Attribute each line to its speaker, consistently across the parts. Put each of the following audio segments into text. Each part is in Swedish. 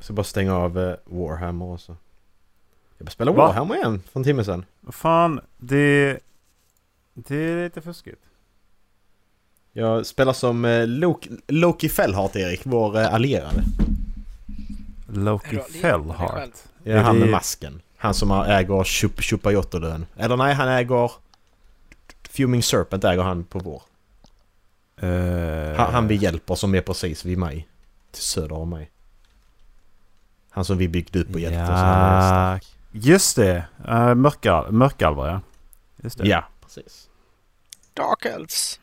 Speaker 1: Så bara stänga av eh, Warhammer och så. Jag bara spelade
Speaker 2: Va?
Speaker 1: Warhammer igen för en timme sedan.
Speaker 2: Fan, det... Det är lite fuskigt.
Speaker 1: Jag spelar som eh, Loki, Loki Fellhart Erik, vår eh, allierade.
Speaker 2: Loki
Speaker 3: Hur har det hjälpt dig själv?
Speaker 2: Fellhart.
Speaker 1: Ja, han
Speaker 2: det-
Speaker 1: med masken. Han som har- äger Chup- Chupayotterdön. Eller nej, han äger... Fuming Serpent äger han på vår.
Speaker 2: Eh,
Speaker 1: Han, han vi hjälper som är precis vid mig. Till söder om mig. Han som vi byggde upp och hjälpte. så han är stark.
Speaker 2: Ja, just det. Uh, mörkal, mörkalvar ja. Just det.
Speaker 1: ja, precis.
Speaker 3: Dark Elves.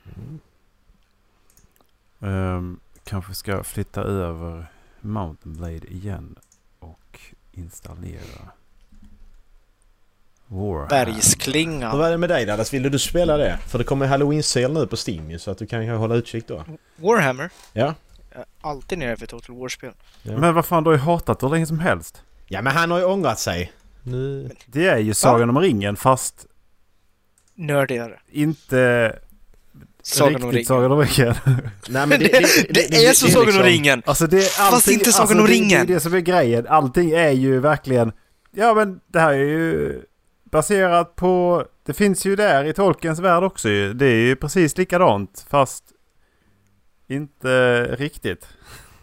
Speaker 2: Ehm, kanske ska flytta över Mountain Blade igen och installera Warhammer.
Speaker 1: Hur
Speaker 3: Bergsklinga.
Speaker 1: var det med dig Dallas? Ville du spela det? För det kommer halloween-sale nu på Steam ju, så att du kan ju hålla utkik då.
Speaker 3: Warhammer.
Speaker 1: Ja.
Speaker 3: Jag är Alltid nere för Total War-spel.
Speaker 2: Men vad fan, du har ju hatat hur länge som helst.
Speaker 1: Ja, men han har ju ångrat sig. Nu...
Speaker 2: Det är ju Sagan om ringen fast
Speaker 3: Nördigare.
Speaker 2: inte
Speaker 3: Sagan om
Speaker 2: riktigt
Speaker 3: ringen.
Speaker 2: Sagan om ringen.
Speaker 1: Nej,
Speaker 3: Men det, det, är som Sagan
Speaker 1: liksom-
Speaker 3: om ringen!
Speaker 2: Alltså det är
Speaker 3: Fast
Speaker 2: allting,
Speaker 3: inte Sagan om
Speaker 2: alltså det,
Speaker 3: ringen.
Speaker 2: Det är det som är grejen. Allting är ju verkligen... Ja men det här är ju baserat på... Det finns ju där i Tolkiens värld också ju. Det är ju precis likadant fast inte riktigt.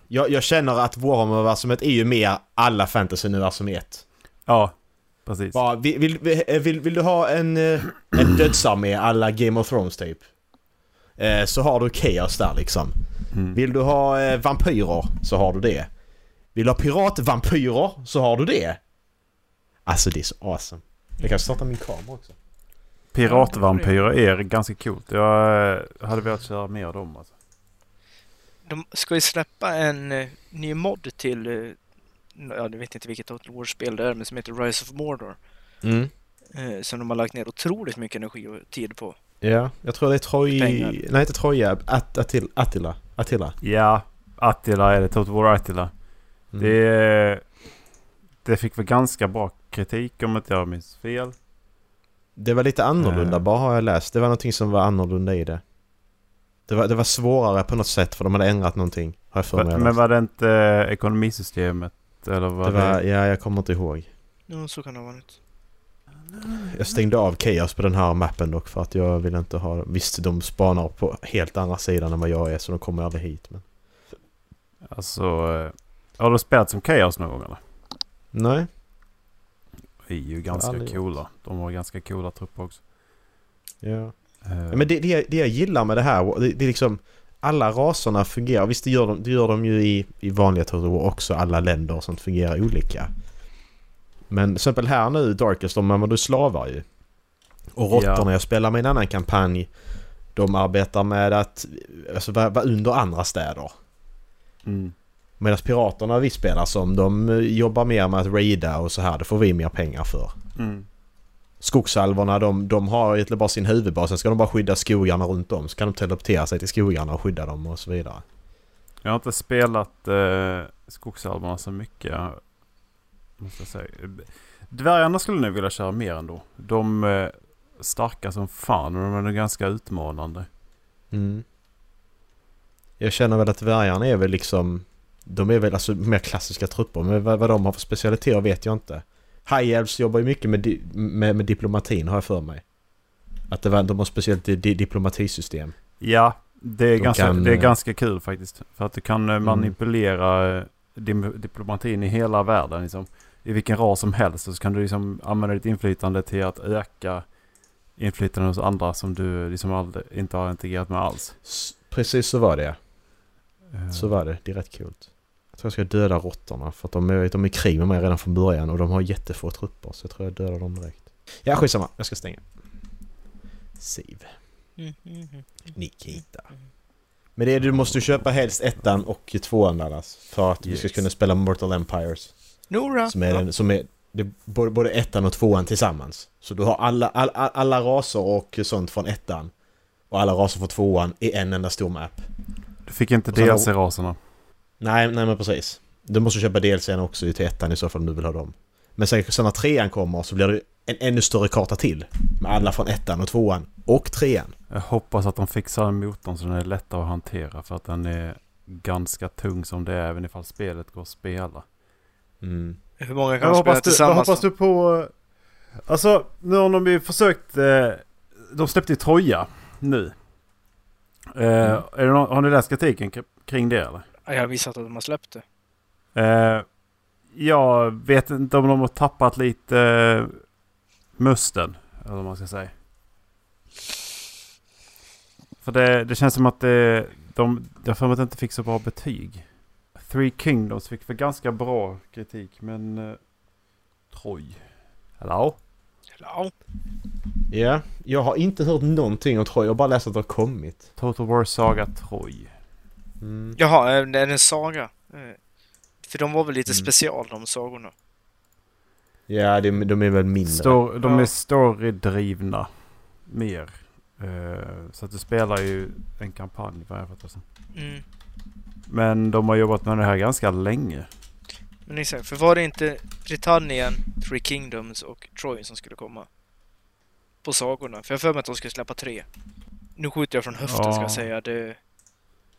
Speaker 1: Jag, jag känner att Warhammer-universumet är ju mer alla fantasy-universum i ett.
Speaker 2: Ja, precis.
Speaker 1: Bara, vill, vill, vill, vill, vill du ha en, eh, en dödsarmé alla Game of Thrones typ? Eh, Så har du Chaos där liksom.
Speaker 2: Mm.
Speaker 1: Vill du ha eh, vampyrer så har du det. Vill du ha piratvampyrer så har du det. Alltså det är så awesome. Jag kan starta min kamera också.
Speaker 2: Piratvampyrer är ganska coolt. Jag eh, hade velat köra mer av dem alltså.
Speaker 3: De ska ju släppa en eh, ny mod till... eh, Ja, du vet inte vilket Total War-spel det är, men som heter Rise of Mordor. Eh, som de har lagt ner otroligt mycket energi och tid på.
Speaker 1: Ja, jag tror det är Troj...
Speaker 3: Pengar.
Speaker 1: Nej, inte Troja. At, Attil, Attila. Attila.
Speaker 2: Ja, Attila är det. Total War Attila.
Speaker 1: Mm.
Speaker 2: Det, det fick väl ganska bra kritik om inte jag minns fel.
Speaker 1: Det var lite annorlunda
Speaker 2: Eh.
Speaker 1: bara har jag läst. Det var någonting som var annorlunda i det. Det var, det var svårare på något sätt för de hade ändrat någonting. Har jag för mig.
Speaker 2: Men,
Speaker 1: jag läst.
Speaker 2: var det inte eh, ekonomisystemet? Eller var
Speaker 1: det
Speaker 2: det,
Speaker 1: var, ja, jag kommer inte ihåg.
Speaker 3: Ja, så kan det ha varit.
Speaker 1: Jag stängde av Chaos på den här mappen dock för att jag vill inte ha... Visst, de spanar på helt andra sidan än vad jag är så de kommer aldrig hit men...
Speaker 2: Alltså, eh, har du spelat som Chaos någon gång eller?
Speaker 1: Nej.
Speaker 2: Det är ju ganska
Speaker 1: aldrig gjort.
Speaker 2: coola. De har ganska coola trupper också.
Speaker 1: Ja.
Speaker 2: Eh,
Speaker 1: Ja, Men det, det, det jag gillar med det här, det, det är liksom... Alla raserna fungerar, visst det gör de, det gör de ju i, i vanliga Total War också, alla länder och sånt fungerar olika. Men till exempel här nu, Darkest, de använder ju slavar ju. Och
Speaker 2: Ja.
Speaker 1: råttorna, jag spelar med en annan kampanj, de arbetar med att alltså, vara vara under andra städer.
Speaker 2: mm.
Speaker 1: Medan piraterna vi spelar som, de eh, jobbar mer med att raida och så här, det får vi mer pengar för.
Speaker 2: Mm.
Speaker 1: Skogsalvorna de, de har egentligen bara sin huvudbas, sen ska de bara skydda skogarna runt om. Så kan de teleportera sig till skogarna och skydda dem och så vidare.
Speaker 2: Jag har inte spelat eh, skogsalverna så mycket. Måste jag säga. Dvärgarna skulle jag nog vilja köra mer ändå. De eh, starka som fan och de är nog ganska utmanande.
Speaker 1: Mm. Jag känner väl att dvärgarna är väl liksom... De är väl alltså mer klassiska trupper, men vad, vad de har för specialiteter vet jag inte. High Elves jobbar ju mycket med, di, med, med diplomatin har jag för mig. Att det var, de har speciellt di, di, diplomatisystem.
Speaker 2: Ja, det är,
Speaker 1: De
Speaker 2: ganska,
Speaker 1: kan,
Speaker 2: det är
Speaker 1: eh,
Speaker 2: ganska kul faktiskt. För att du kan eh,
Speaker 1: Mm.
Speaker 2: manipulera eh, dim- diplomatin i hela världen. Liksom. I vilken ras som helst. Och så kan du liksom använda ditt inflytande till att öka inflytande hos andra som du liksom aldrig, inte har integrerat med alls.
Speaker 1: S- Precis så var det ja.
Speaker 2: Eh,
Speaker 1: Så var det, det är rätt coolt. Jag tror jag ska döda råttorna för att de är, de är i krig med mig redan från början och de har jättefå trupper så jag tror jag dödar dem direkt. Ja, skitsamma. Jag ska stänga. Siv.
Speaker 3: Mm,
Speaker 1: Nikita. Men det är, du måste ju köpa helst ettan och tvåan Dallas för att vi ska
Speaker 2: Yes.
Speaker 1: kunna spela Mortal Empires.
Speaker 3: Nora!
Speaker 1: Som är, den, som är det, är både, både ettan och tvåan tillsammans. Så du har alla, all, all, alla raser och sånt från ettan och alla raser från tvåan i en enda stor map.
Speaker 2: Du fick inte
Speaker 1: Och sen har-
Speaker 2: DLC-raserna.
Speaker 1: Nej, nej men precis. Du måste köpa DLCn också ju till ettan i så fall om du vill ha dem. Men sen, sen när trean kommer så blir det en ännu större karta till. Med alla från ettan och tvåan och trean.
Speaker 2: Jag hoppas att de fixar motorn så den är lättare att hantera. För att den är ganska tung som det är även ifall spelet går att spela.
Speaker 1: Mm.
Speaker 3: Hur många kan
Speaker 2: Jag
Speaker 3: man spela
Speaker 2: hoppas, du, vad
Speaker 3: tillsammans?
Speaker 2: hoppas du på... Alltså nu har de ju försökt... Eh, de släppte ju Troja nu. Eh,
Speaker 3: Mm.
Speaker 2: är det någon, har ni läst kritiken k- kring det eller?
Speaker 3: Ja, Jag har visat att de har släppt det.
Speaker 2: Eh, jag vet inte om de har tappat lite eh, musten. Eller vad man ska säga. För det, det känns som att det, de... Jag har för mig att det inte fick så bra betyg. Three Kingdoms fick för ganska bra kritik men... Eh, Troj. Hello?
Speaker 3: Ja,
Speaker 1: Ja, jag har inte hört någonting om Troy. Jag har bara läst att det har kommit.
Speaker 2: Total War Saga Troj.
Speaker 1: Mm.
Speaker 3: jaha, eh, det är en saga. Eh, För de var väl lite
Speaker 1: Mm.
Speaker 3: special de sagorna.
Speaker 1: Ja, de, de är väl mindre.
Speaker 2: Stor, de
Speaker 3: Ja.
Speaker 2: är storydrivna. Mer. Eh, så att du spelar ju en kampanj vad jag fattar som.
Speaker 3: Mm.
Speaker 2: Men de har jobbat med det här ganska länge.
Speaker 3: Men exakt, för var det inte Britannien, Three Kingdoms och Troy som skulle komma? På sagorna. För jag har för mig att de skulle släppa tre. Nu skjuter jag från höften
Speaker 2: Ja.
Speaker 3: ska jag säga. Det...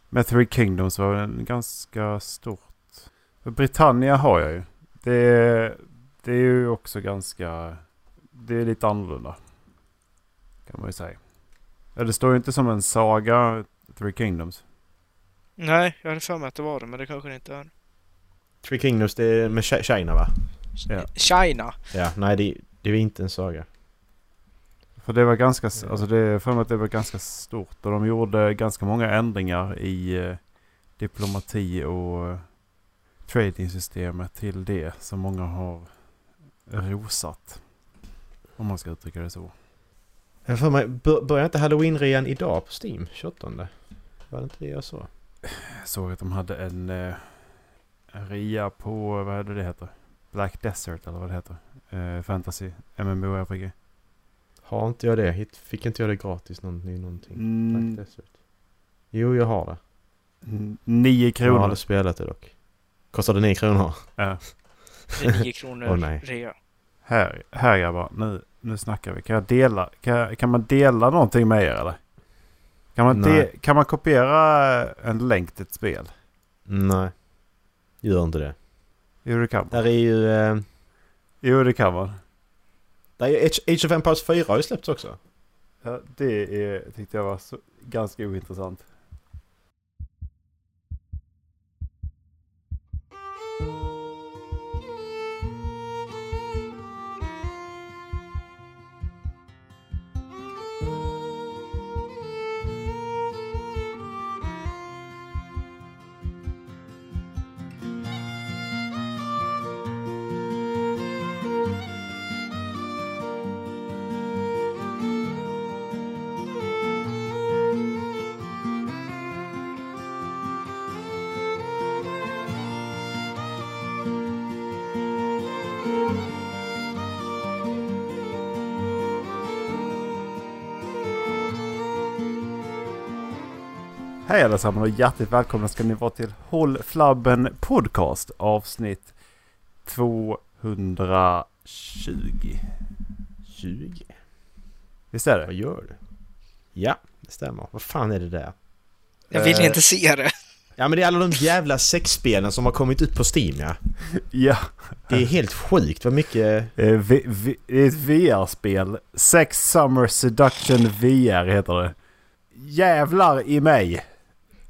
Speaker 2: Men Three Kingdoms var en ganska stort. Britannia har jag ju. Det, det är ju också ganska... Det är lite annorlunda. Kan man ju säga. Ja, Det står ju inte som en saga, Three Kingdoms.
Speaker 3: Nej, jag hade för mig att det var det, men det kanske det inte är.
Speaker 1: Three Kingdoms, det är med Chi- China va?
Speaker 2: Ja.
Speaker 3: China!
Speaker 1: Ja, nej det, det är inte en saga.
Speaker 2: För det var ganska,
Speaker 1: Ja.
Speaker 2: alltså det är för mig att det var ganska stort och de gjorde ganska många ändringar i eh, diplomati och eh, tradingsystemet till det som många har rosat. Om man ska uttrycka det så.
Speaker 1: Jag för mig, bör, börjar inte halloween redan idag på Steam? 28? Var det inte det jag sa?
Speaker 2: Jag såg att de hade en eh, en rea på, vad är det det heter? Black Desert eller vad det heter. Eh, fantasy, MMORPG.
Speaker 1: Har inte jag det? Hit- Fick inte jag det gratis någon, i någonting?
Speaker 2: Mm,
Speaker 1: Tack dessutom. Jo, jag har det.
Speaker 2: n- nio
Speaker 1: Jag har
Speaker 2: kronor.
Speaker 1: aldrig spelat det dock. Kostade 9 kronor?
Speaker 2: Ja.
Speaker 3: Det är 9 kronor
Speaker 1: Åh, nej.
Speaker 3: rea.
Speaker 2: Här, här grabbar, nu, nu snackar vi. Kan, jag dela, kan, kan man dela någonting med er eller? Kan man, de,
Speaker 1: Nej.
Speaker 2: kan man kopiera eh, en länk till ett spel?
Speaker 1: Nej. Gör inte det.
Speaker 2: Jo det kan man.
Speaker 1: Där är ju... Eh,
Speaker 2: Jo det kan man.
Speaker 1: där är ju Age- Age of Empires 4 har ju släppts också.
Speaker 2: Ja, det är, tyckte jag var så, ganska ointressant. Hej allesammans och hjärtligt välkomna ska ni vara till Håll Flabben Podcast avsnitt 220.
Speaker 1: 20?
Speaker 2: Visst är det?
Speaker 1: Vad gör du? Ja, det stämmer. Vad fan är det där?
Speaker 3: Jag vill
Speaker 2: Eh,
Speaker 3: inte se det.
Speaker 1: Ja men det är alla de jävla sexspelen som har kommit ut på Steam ja.
Speaker 2: Ja.
Speaker 1: Det är helt sjukt vad mycket...
Speaker 2: Eh, vi- vi- Det är ett VR-spel. Sex Summer Seduction VR heter det. Jävlar i mig!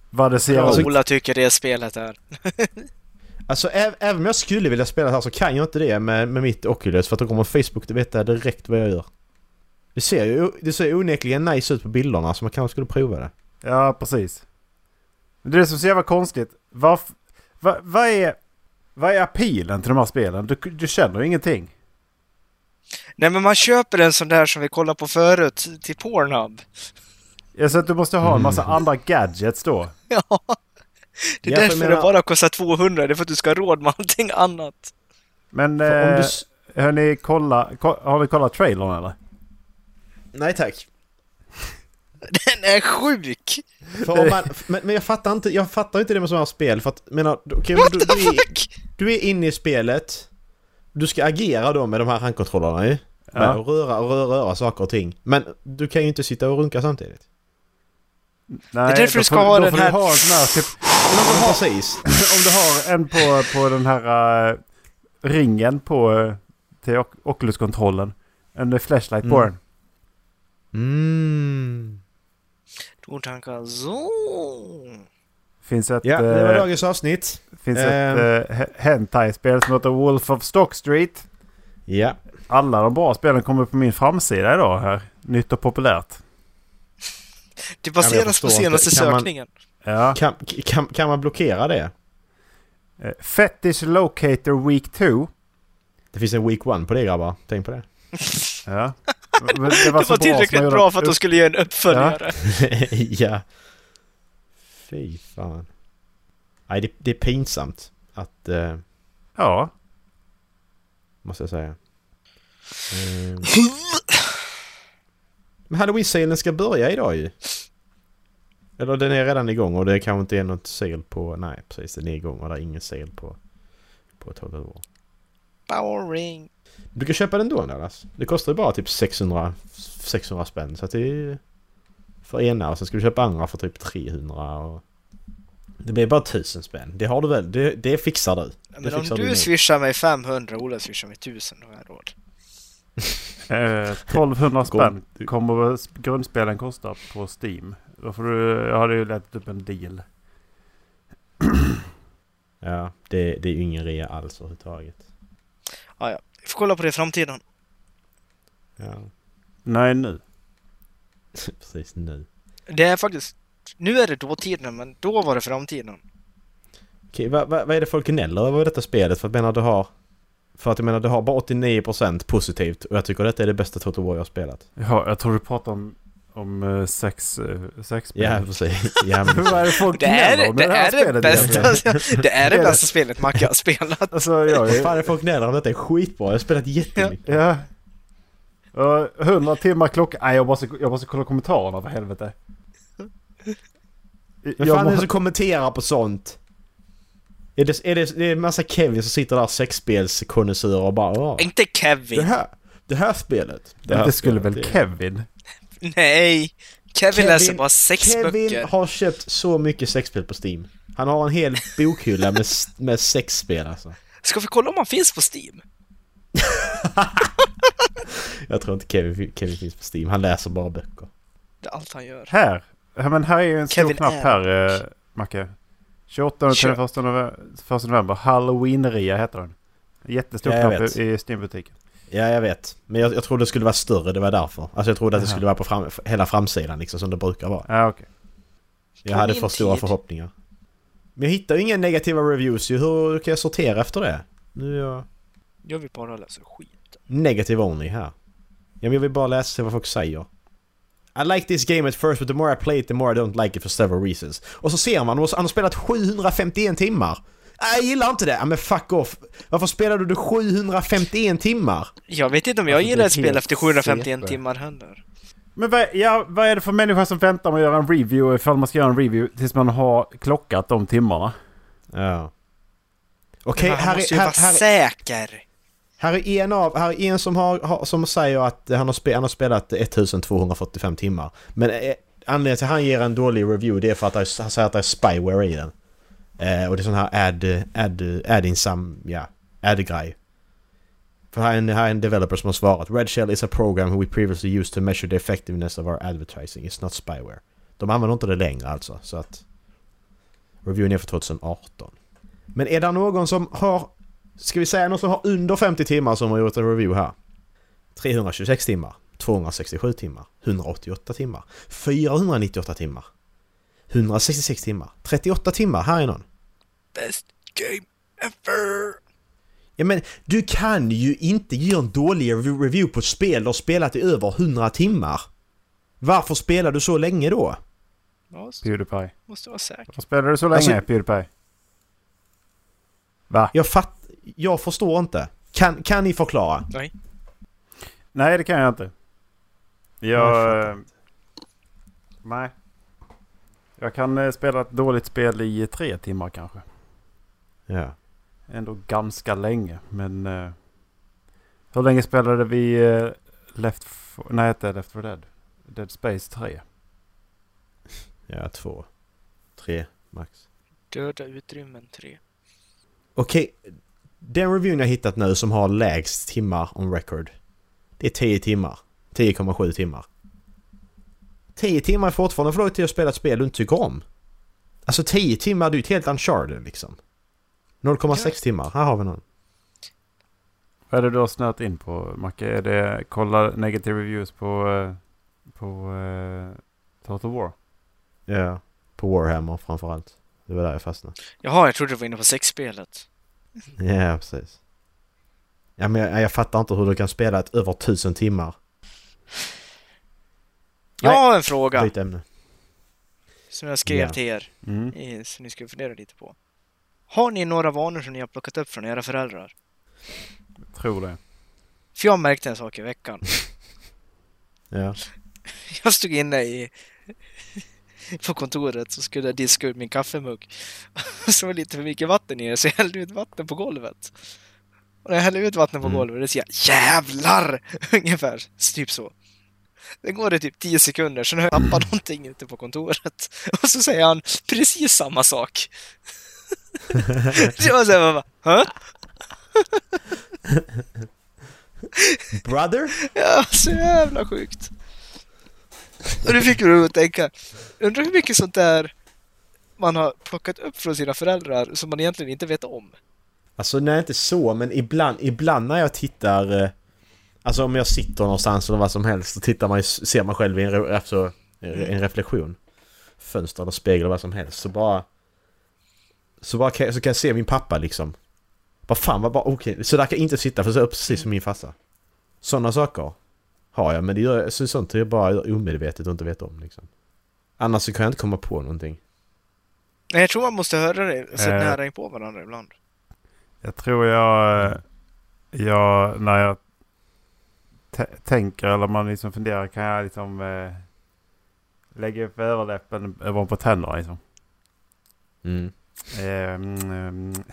Speaker 2: Vad det ser
Speaker 1: alltså-
Speaker 2: ut.
Speaker 3: Ola tycker det spelet är.
Speaker 1: Alltså ä- även om jag skulle vilja spela det här så kan jag inte det med, med mitt Oculus för att då kommer Facebook att veta direkt vad jag gör. Det ser ju det ser onekligen nice ut på bilderna så man kanske skulle prova det.
Speaker 2: Ja, precis. Men det är det som är så jävla konstigt. Varf- va- Vad är... Vad är appealen till de här spelen? Du, du känner ju ingenting.
Speaker 3: Nej men man köper en sån där som vi kollade på förut till Pornhub.
Speaker 2: Jag ser att du måste ha en massa
Speaker 1: Mm.
Speaker 2: andra gadgets då.
Speaker 3: Ja. Det är
Speaker 1: Ja, för jag
Speaker 3: därför det
Speaker 1: menar-
Speaker 3: bara kostar 200, det är för att du ska ha råd med allting annat.
Speaker 2: Men
Speaker 1: För om
Speaker 2: eh,
Speaker 1: du... s-
Speaker 2: hör ni kolla, ko- har ni kollat trailern eller?
Speaker 1: Nej tack.
Speaker 3: Den är sjuk!
Speaker 1: För om man, men, men jag fattar inte, jag fattar inte det med sådana här spel för att, menar, du- okej, men du, du, är,
Speaker 3: Fuck!
Speaker 1: du är inne i spelet, du ska agera då med de här handkontrollerna ju. Med
Speaker 2: Ja.
Speaker 1: att röra och röra, röra saker och ting. Men du kan ju inte sitta och runka samtidigt.
Speaker 2: Nej,
Speaker 3: Det är därför
Speaker 2: då
Speaker 3: du ska
Speaker 2: får-
Speaker 3: ha
Speaker 2: då
Speaker 3: den
Speaker 2: får du
Speaker 3: här-
Speaker 2: Ha en sån här typ,
Speaker 1: Ja, men precis.
Speaker 2: om du har en på, på den här eh, ringen på eh, till Oc- Oculus-kontrollen. En eh, flashlight på
Speaker 1: Mm.
Speaker 2: den.
Speaker 1: Mm.
Speaker 3: Stort tankar. Så.
Speaker 2: Finns ett,
Speaker 1: Ja, det var
Speaker 2: eh,
Speaker 1: dagens avsnitt.
Speaker 2: finns
Speaker 1: Ehm.
Speaker 2: ett eh, he- hentai-spel som heter Wolf of Stock Street.
Speaker 1: Ja.
Speaker 2: Alla de bra spelen kommer på min framsida idag här. Nytt och populärt.
Speaker 3: Det
Speaker 1: Ja, men
Speaker 3: baseras
Speaker 1: jag förstår
Speaker 3: på senaste
Speaker 1: inte. Kan man-
Speaker 3: sökningen.
Speaker 2: Ja.
Speaker 1: Kan, kan, kan man blockera det?
Speaker 2: Eh, Fetish Locator Week 2.
Speaker 1: Det finns en week one på det grabbar. Tänk på det.
Speaker 2: Ja. Men
Speaker 3: Det var
Speaker 2: så som jag
Speaker 3: tillräckligt
Speaker 2: gjorde-
Speaker 3: bra för att de skulle göra en uppföljare.
Speaker 1: ja. Fy fan. Nej, det, det är pinsamt att... Eh,
Speaker 2: Ja.
Speaker 1: måste jag säga. Ehm. Men halloween-salen ska börja idag ju. Eller den är redan igång och det kanske inte är något sale på... Nej, precis. Den är igång och det är ingen sale på, på ett halvår.
Speaker 3: Boring.
Speaker 1: Du kan köpa den då Dallas. Det kostar ju bara typ 600, 600 spänn. Så att det är ju för ena och sen ska du köpa andra för typ 300 och... Det blir bara 1000 spänn. Det har du väl? Det, det fixar du.
Speaker 3: Men om
Speaker 1: fixar du
Speaker 3: du
Speaker 1: nog.
Speaker 3: swishar mig 500 och Ola swishar mig 1000, då har jag råd.
Speaker 2: Eh, 1200 spänn kommer väl sp- grundspelen kosta på Steam. Då får du, jag hade ju letat upp en deal.
Speaker 1: Ja, det, det är ju ingen rea alls överhuvudtaget.
Speaker 3: Vi får kolla på det i framtiden.
Speaker 1: Ja,
Speaker 2: Nej nu.
Speaker 1: precis nu.
Speaker 3: Det är faktiskt... Nu är det dåtiden, men då var det framtiden.
Speaker 1: Okej, vad, vad, vad är det folk gnäller över i detta spelet? För att jag menar du har... För att jag menar du har bara 89% positivt och jag tycker detta är det bästa Total War jag har spelat.
Speaker 2: Ja, jag tror du pratar om, om eh, sex, eh, sex
Speaker 1: Ja, precis. Ja, men,
Speaker 2: Vad är det folk
Speaker 3: Det är
Speaker 2: gnäller
Speaker 3: det,
Speaker 2: om i här
Speaker 3: är det
Speaker 2: spelet egentligen?
Speaker 3: bästa, det är det
Speaker 2: Det är
Speaker 3: bästa spelet Macke har spelat.
Speaker 2: Alltså, jag
Speaker 1: vad
Speaker 2: är,
Speaker 1: fan är det folk gnäller om? Detta är skitbra. Jag har spelat jättemycket.
Speaker 2: ja. Och 100 timmar klocka. Nej, jag måste, jag måste kolla kommentarerna för helvete.
Speaker 1: Vem fan
Speaker 2: Jag
Speaker 1: är det
Speaker 2: måste-
Speaker 1: som kommenterar på sånt? Är det, är det, det är en massa Kevin som sitter där sexspelskonnässörer och bara "Åh,
Speaker 3: Inte
Speaker 1: det
Speaker 3: Kevin.
Speaker 1: här, det här spelet. Det, här
Speaker 2: det skulle
Speaker 1: spelet,
Speaker 2: väl
Speaker 1: det-
Speaker 2: Kevin?
Speaker 3: Nej. Kevin
Speaker 1: Kevin-
Speaker 3: läser bara sex
Speaker 1: Kevin
Speaker 3: böcker.
Speaker 1: har köpt så mycket sexspel på Steam. Han har en hel bokhylla med, med sexspel alltså.
Speaker 3: Ska vi kolla om han finns på Steam?
Speaker 1: Jag tror inte Kevin, Kevin finns på Steam. Han läser bara böcker.
Speaker 3: Det är allt han gör.
Speaker 2: Här! Ja, men här är ju en stor
Speaker 3: Kevin
Speaker 2: knapp
Speaker 3: är-
Speaker 2: här, eh, Macke. 28 och
Speaker 3: Kör.
Speaker 2: 31 november, 1 november. Halloween-ria heter den. Jättestor
Speaker 1: Ja, jag
Speaker 2: knapp
Speaker 1: vet.
Speaker 2: i, i Steam-butiken.
Speaker 1: Ja, jag vet. Men jag, jag trodde det skulle vara större, det var därför. Alltså jag trodde att det
Speaker 2: Jaha.
Speaker 1: skulle vara på fram, hela framsidan liksom, som det brukar vara.
Speaker 2: Ja, okej.
Speaker 1: Jag
Speaker 3: På
Speaker 1: hade
Speaker 3: min
Speaker 1: för stora
Speaker 3: tid.
Speaker 1: förhoppningar. Men jag hittar ju inga negativa reviews ju. Hur kan jag sortera efter det? Nu är jag
Speaker 3: Jag vill bara läsa skit.
Speaker 1: negative only här. Ja, men jag vill bara läsa vad folk säger. I like this game at first but the more I play it the more I don't like it for several reasons. Och så ser man, han har spelat 751 timmar. Nej, Jag gillar inte det! Ja, men fuck off! Varför spelade du 751 timmar?
Speaker 3: Jag vet inte om jag
Speaker 1: Alltså, det
Speaker 3: gillar
Speaker 1: är
Speaker 3: ett spel
Speaker 1: helt
Speaker 3: efter 751
Speaker 1: CP.
Speaker 3: timmar heller.
Speaker 2: Men vad, ja, vad är det för människa som väntar med att göra en review ifall man ska göra en review tills man har klockat de timmarna?
Speaker 1: Ja.
Speaker 3: Men
Speaker 1: Okej,
Speaker 3: han
Speaker 1: här,
Speaker 3: måste
Speaker 1: är-
Speaker 3: ju
Speaker 1: här,
Speaker 3: vara
Speaker 1: här,
Speaker 3: säker.
Speaker 1: Här är en, av, här är en som, har, har, som säger att han har, spe, han har spelat 1245 timmar. Men eh, anledningen till att han ger en dålig review det är för att han han säger att det är spyware i den. Eh, och det är sån här ad, ad, ad insam, ja, ad-grej. För här är, en, här är en developer som har svarat Red Shell is a program we previously used to measure the effectiveness of our advertising. It's not spyware. De använder inte det längre alltså, så att... Reviewen är för 2018. Men är det någon som har Ska vi säga någon som har under 50 timmar som har gjort en review här? 326 timmar, 267 timmar, 188 timmar, 498 timmar, 166 timmar, 38 timmar. Här är någon.
Speaker 3: Best game ever!
Speaker 1: Ja men du kan ju inte ge en dålig rev- review på ett spel du har spelat i över 100 timmar. Varför spelar du så länge då?
Speaker 3: Ja, så-
Speaker 2: Pewdiepie.
Speaker 3: måste vara säker.
Speaker 2: Varför spelade du så länge,
Speaker 1: Alltså-
Speaker 2: Pewdiepie? Va?
Speaker 1: Jag fatt... Jag förstår inte. Kan, kan ni förklara?
Speaker 3: Nej.
Speaker 2: Nej, det kan jag inte.
Speaker 1: Jag
Speaker 2: Jag... eh, Nej. Jag kan eh, spela ett dåligt spel i tre timmar kanske.
Speaker 1: Ja.
Speaker 2: ändå ganska länge. Men eh, hur länge spelade vi eh, Left... For, nej, inte Left 4 Dead. Dead Space 3.
Speaker 1: Ja, två. Tre, max.
Speaker 3: Döda utrymmen 3.
Speaker 1: Okej, Den reviewn jag hittat nu som har lägst timmar on record. Det är 10 timmar. 10,7 timmar. 10 timmar är fortfarande för långt till att spela ett spel du inte tycker om. Alltså 10 timmar, det är ju ett helt uncharted liksom. 0,6 timmar, här har vi någon.
Speaker 2: Vad är det du har snöat in på Macke? Är det kolla negative reviews på, eh, på eh, Total War?
Speaker 1: Ja. På Warhammer framförallt. Det var där jag fastnade.
Speaker 3: Jaha, jag trodde du var inne på sexspelet.
Speaker 1: Ja, precis. Ja, men jag, jag fattar inte hur du kan spela ett över 1000 timmar.
Speaker 3: Jag
Speaker 1: Nej.
Speaker 3: har en fråga
Speaker 1: Byt ämne.
Speaker 3: som jag skrev
Speaker 1: Ja.
Speaker 3: till er,
Speaker 2: Mm.
Speaker 3: eh, som ni skulle fundera lite på. Har ni några vanor som ni har plockat upp från era föräldrar?
Speaker 2: Tror det.
Speaker 3: För jag märkte en sak i veckan.
Speaker 1: Ja.
Speaker 3: Jag stod inne i på kontoret så skulle jag diska ut min kaffemugg. Så var det lite för mycket vatten i det så jag hällde ut vatten på golvet. Och när jag häller ut vatten på
Speaker 1: Mm.
Speaker 3: golvet, då säger jag jävlar! Ungefär, typ så. Det går det typ 10 sekunder, sen har jag tappat någonting ute på kontoret. Och så säger han precis samma sak. Så jag säger bara, "Hä?"
Speaker 1: Brother?
Speaker 3: Ja, så jävla sjukt. Och det fick mig att tänka, undrar hur mycket sånt där man har plockat upp från sina föräldrar som man egentligen inte vet om.
Speaker 1: Alltså nej inte så men ibland, ibland när jag tittar eh, Alltså om jag sitter någonstans eller vad som helst så tittar man, ju- ser man själv i en, re, alltså, en reflektion Fönster eller spegel eller vad som helst så bara Så bara kan, jag- så kan jag se min pappa liksom Vad fan vad bara okej, så där kan jag inte sitta för så är jag precis som min farsa Sådana saker har jag men det gör, så sånt är jag bara gör omedvetet och inte vet om liksom Annars så kan jag inte komma på någonting
Speaker 3: Nej, jag tror man måste höra det så
Speaker 2: Eh.
Speaker 3: nära på varandra ibland.
Speaker 2: Jag tror jag, eh, jag när jag t- tänker eller man liksom funderar kan jag liksom eh, lägga upp överläppen ovanpå tänderna liksom.
Speaker 1: mm.
Speaker 2: Eh, mm, mm.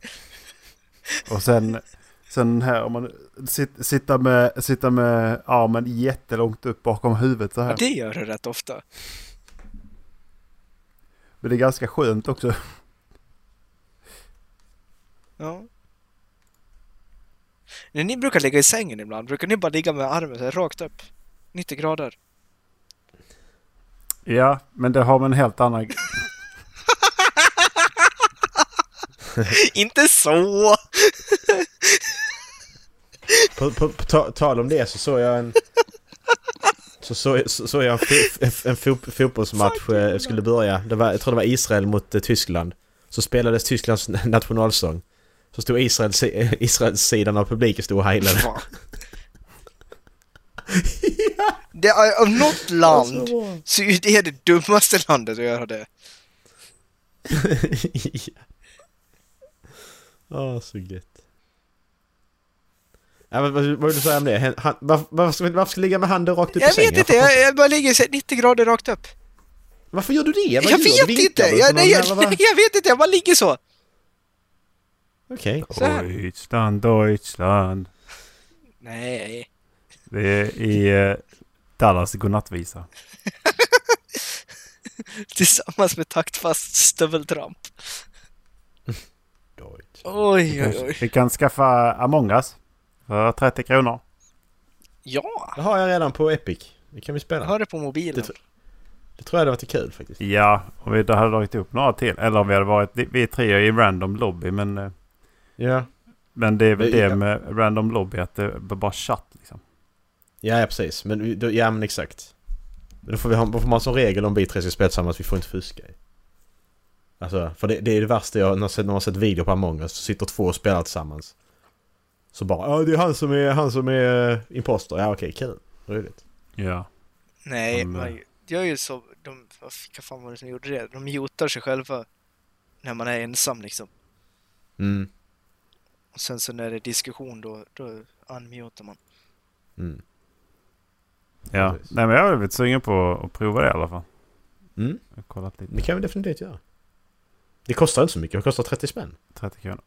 Speaker 2: Och sen, sen här om man sit, sitta, med, sitta med armen jättelångt upp bakom huvudet så
Speaker 3: Ja,
Speaker 2: här.
Speaker 3: det gör du rätt ofta.
Speaker 2: Men det är ganska skönt också.
Speaker 3: Ja. När ni brukar ligga i sängen ibland, brukar ni bara ligga med armen så här rakt upp? 90 grader.
Speaker 2: Ja, men det har man en helt annan...
Speaker 3: inte så!
Speaker 1: På, på, på ta, tal om det så såg jag en... Så såg så, såg jag en, fo- en, en fot, fotbollsmatch eh, skulle börja. Det var, jag tror det var Israel mot eh, Tyskland. Så spelades Tysklands nationalsång. Så stod Israel, si- eh, Israels sidan av publiken stod och heilade.
Speaker 3: Fan. Det är av något
Speaker 1: Alltså,
Speaker 3: land så är det det dummaste landet att göra det.
Speaker 1: Ja, så gött. Ja, men vad, vad vill du säga om det? Han, han, varför, varför, ska, varför ska jag ligga med handen rakt upp i
Speaker 3: Typ Jag
Speaker 1: sängen?
Speaker 3: vet inte,
Speaker 1: fattar
Speaker 3: jag, jag bara ligger så här 90 grader rakt upp.
Speaker 1: Varför gör du det?
Speaker 3: Jag,
Speaker 1: Vad gör du?
Speaker 3: vet
Speaker 1: Vinkar
Speaker 3: inte!
Speaker 1: du på
Speaker 3: Jag,
Speaker 1: någon
Speaker 3: nej, jag,
Speaker 1: eller vad?
Speaker 3: jag vet inte, jag bara ligger så.
Speaker 1: Okej.
Speaker 3: Så här.
Speaker 2: Deutschland, Deutschland.
Speaker 3: Nej.
Speaker 2: Det är i eh, Dallas godnattvisa.
Speaker 3: Tillsammans med taktfast stöveltramp.
Speaker 1: Deutsch.
Speaker 3: Oj, oj,
Speaker 2: Kanske-
Speaker 3: oj.
Speaker 2: Vi kan skaffa Among us för 30 kronor.
Speaker 3: Ja!
Speaker 1: Det har jag redan på Epic. Det kan vi spela.
Speaker 3: Jag hör det på mobilen.
Speaker 1: Det- Det tror jag hade varit kul faktiskt.
Speaker 2: Ja, om vi då hade dragit upp några till. Eller om vi hade varit vi är tre i en random lobby. Men, eh,
Speaker 1: Ja.
Speaker 2: men det är väl
Speaker 1: Det-
Speaker 2: det
Speaker 1: ja.
Speaker 2: med random lobby att det är bara chatt liksom.
Speaker 1: Ja, ja precis. Men, vi- då, ja men exakt. Men då får, vi ha, då får man som regel om vi tre ska spela tillsammans, vi får inte fuska. Alltså, för det, det är det värsta jag, när jag sett- när man har sett video på Among Us, så sitter två och spelar tillsammans. Så bara ja det är han som är, han som är eh, imposter. Ja okej, kul. Roligt.
Speaker 2: Ja.
Speaker 3: Nej,
Speaker 2: Mm.
Speaker 3: man gör ju så. De, vad fick- vad fan var det som gjorde det? De mutar sig själva när man är ensam liksom.
Speaker 1: Mm.
Speaker 3: Och sen så när det är diskussion då, då unmutar man.
Speaker 1: Mm.
Speaker 2: ja.
Speaker 1: Precis.
Speaker 2: Nej men jag har blivit sugen på att prova det i alla fall.
Speaker 1: Mm.
Speaker 2: Jag har kollat lite.
Speaker 1: Det kan vi definitivt göra. Det kostar inte så mycket, det kostar 30 spänn.
Speaker 2: 30 kronor.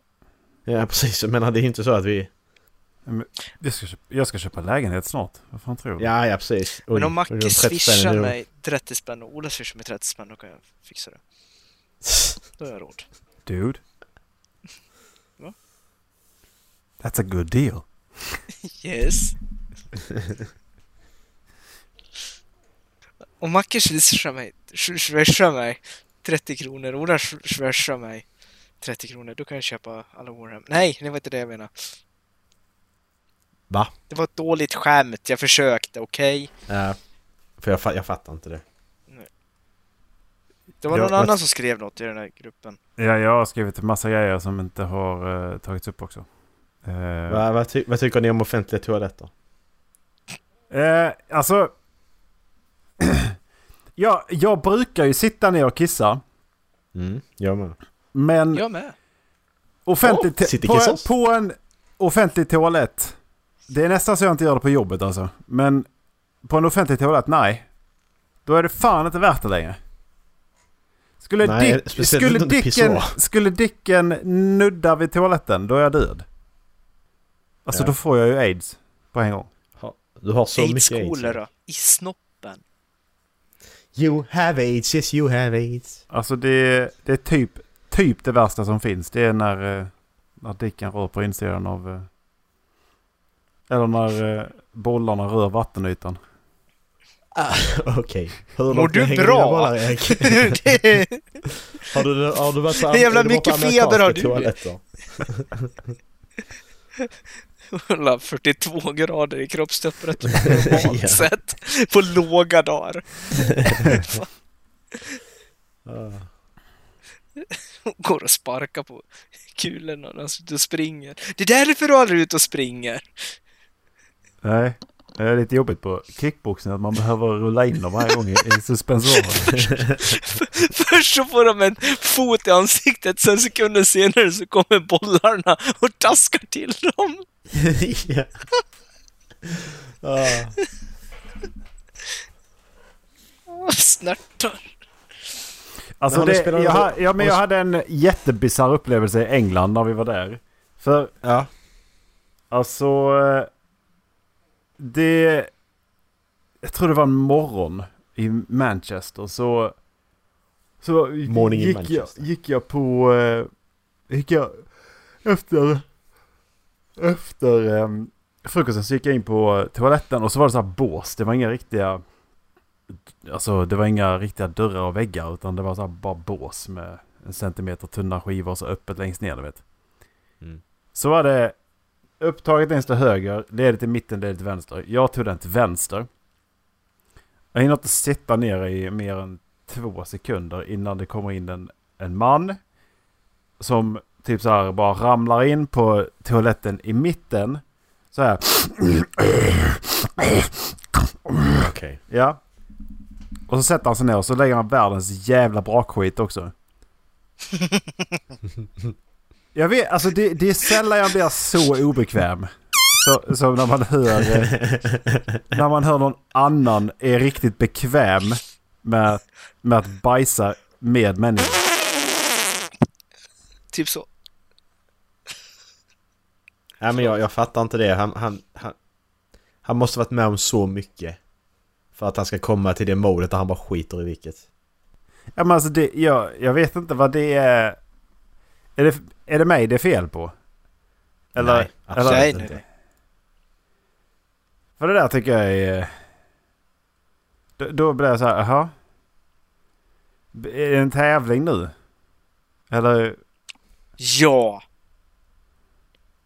Speaker 1: Ja precis, men det är ju inte så att vi...
Speaker 2: Jag ska köpa, jag ska köpa lägenhet snart. Vad fan tror du?
Speaker 1: Ja, ja precis. Oj,
Speaker 3: Men om
Speaker 1: det är
Speaker 3: Macke
Speaker 1: 30 spänn,
Speaker 3: swishar
Speaker 1: det är-
Speaker 3: mig 30 spänn och Ola swishar mig 30 spänn, då kan jag fixa det. Då har jag råd.
Speaker 2: Dude.
Speaker 3: Va?
Speaker 2: That's a good deal.
Speaker 3: Yes. Om Macke swishar mig, sw- swishar mig 30 kronor, Ola sw- swishar mig 30 kronor, då kan jag köpa alla Warhammer. Nej, det var inte det jag menade.
Speaker 1: Va?
Speaker 3: Det var ett dåligt skämt, jag försökte, okej?
Speaker 1: Eh, för jag, fa- jag fattar inte det.
Speaker 3: Det var
Speaker 2: Ja,
Speaker 3: någon
Speaker 2: vad-
Speaker 3: annan som skrev något i den här gruppen.
Speaker 2: Ja, jag har skrivit en massa grejer som inte har eh, tagits upp också. Eh,
Speaker 1: Vad- vad, ty- vad tycker ni om offentliga toaletter?
Speaker 2: Eh, alltså... ja, jag brukar ju sitta ner och kissa.
Speaker 1: Mm, jag med.
Speaker 2: Men
Speaker 3: Jag med.
Speaker 2: offentlig
Speaker 1: Åh,
Speaker 2: te-
Speaker 1: sitter
Speaker 2: på,
Speaker 1: kissas.
Speaker 2: på en offentlig toalett. Det är nästan så jag inte gör det på jobbet alltså. Men på en offentlig toalett, nej. Då är det fan inte värt det längre. Skulle,
Speaker 1: Nej,
Speaker 2: dick,
Speaker 1: speciellt
Speaker 2: skulle,
Speaker 1: inte om det är
Speaker 2: dicken,
Speaker 1: pissoar.
Speaker 2: skulle dicken nudda vid toaletten, då är jag död. Alltså
Speaker 1: Ja.
Speaker 2: då får jag ju aids på en gång.
Speaker 1: Ha, du har så
Speaker 3: aids
Speaker 1: mycket aids.
Speaker 3: kolera i snoppen.
Speaker 1: You have aids, yes you have aids.
Speaker 2: Alltså det, det är typ, typ det värsta som finns. Det är när, eh, när dicken rör på insidan av... eh, Eller när eh, bollarna rör vattenytan.
Speaker 1: Okej. Hur
Speaker 3: Mår
Speaker 1: långt
Speaker 3: du
Speaker 1: hänger dina
Speaker 3: bra?
Speaker 1: bollar, Erik? har, du, har du varit så
Speaker 3: Hur jävla
Speaker 1: är du
Speaker 3: mycket
Speaker 1: varit på
Speaker 3: feber har
Speaker 1: amerikanska
Speaker 3: du?
Speaker 1: toaletter?
Speaker 3: Kolla, 42 grader i kroppstemperatur normalt sett. På låga dagar.
Speaker 1: Ah.
Speaker 3: Hon går och sparkar på kulorna när han sitter och springer. Det är därför du aldrig är ute och springer.
Speaker 2: Nej, det är lite jobbigt på kickboxning att man behöver rulla in dem varje gång i, i suspensorer.
Speaker 3: Först så får de en fot i ansiktet, sen sekunder senare så kommer bollarna och taskar till dem.
Speaker 1: ja. Ah.
Speaker 3: Och snärtar.
Speaker 1: Men
Speaker 2: Alltså
Speaker 1: har ni
Speaker 2: det,
Speaker 1: spelat-
Speaker 2: jag, ha- ja, men jag
Speaker 1: har-
Speaker 2: hade en jättebisarr upplevelse i England när vi var där. För
Speaker 1: Ja.
Speaker 2: Alltså... eh, Det... Jag tror det var en morgon i Manchester så... Så
Speaker 1: Morning in
Speaker 2: gick, jag,
Speaker 1: Manchester.
Speaker 2: gick jag på... eh, Gick jag efter... Efter eh, frukosten så gick jag in på toaletten och så var det så här bås. Det var inga riktiga... Alltså det var inga riktiga dörrar och väggar utan det var så här bara bås med en centimeter tunna skivor och så öppet längst ner du vet.
Speaker 1: Mm.
Speaker 2: Så var det upptaget längst till höger, ledigt till mitten, ledigt till vänster. Jag tog den till vänster. Jag hinner inte sitta ner i mer än två sekunder innan det kommer in en, en man. Som typ så här bara ramlar in på toaletten i mitten. Så här.
Speaker 1: Okej.
Speaker 2: Ja. Och så sätter han sig ner och så lägger han världens jävla brakskit också. jag vet, alltså det, det är sällan jag blir så obekväm. Så, som när man hör... eh, När man hör någon annan är riktigt bekväm med, med att bajsa med människor.
Speaker 3: Typ så.
Speaker 1: Nej men jag, jag fattar inte det. Han, han, han, han måste varit med om så mycket. För att han ska komma till det modet där han bara skiter i vilket.
Speaker 2: Ja, men alltså det, jag, jag vet inte vad det är... Är det, är det mig det är fel på? Eller?
Speaker 1: Nej, absolut
Speaker 3: eller-
Speaker 1: inte.
Speaker 3: Nej, nej,
Speaker 2: För det där tycker jag är... eh, Då, då blir jag så här, jaha? B- Är det en tävling nu? Eller?
Speaker 3: Ja.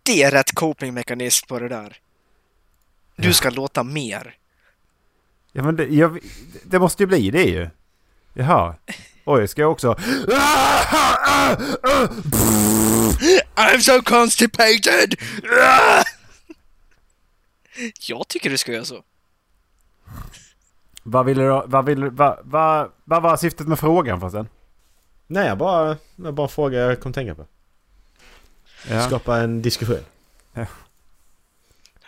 Speaker 3: Det är rätt copingmekanism på det där. Du ska låta mer.
Speaker 2: Ja, men det, jag, det måste ju bli det ju. Jaha. Oj, ska jag också...
Speaker 3: I'm so constipated! Jag tycker du ska göra så.
Speaker 2: Vad ville du... Vad, ville, vad, vad, vad var syftet med frågan förresten?
Speaker 1: Nej, jag bara, jag bara frågar jag kom tänka på.
Speaker 2: Ja.
Speaker 1: Skapa en diskussion.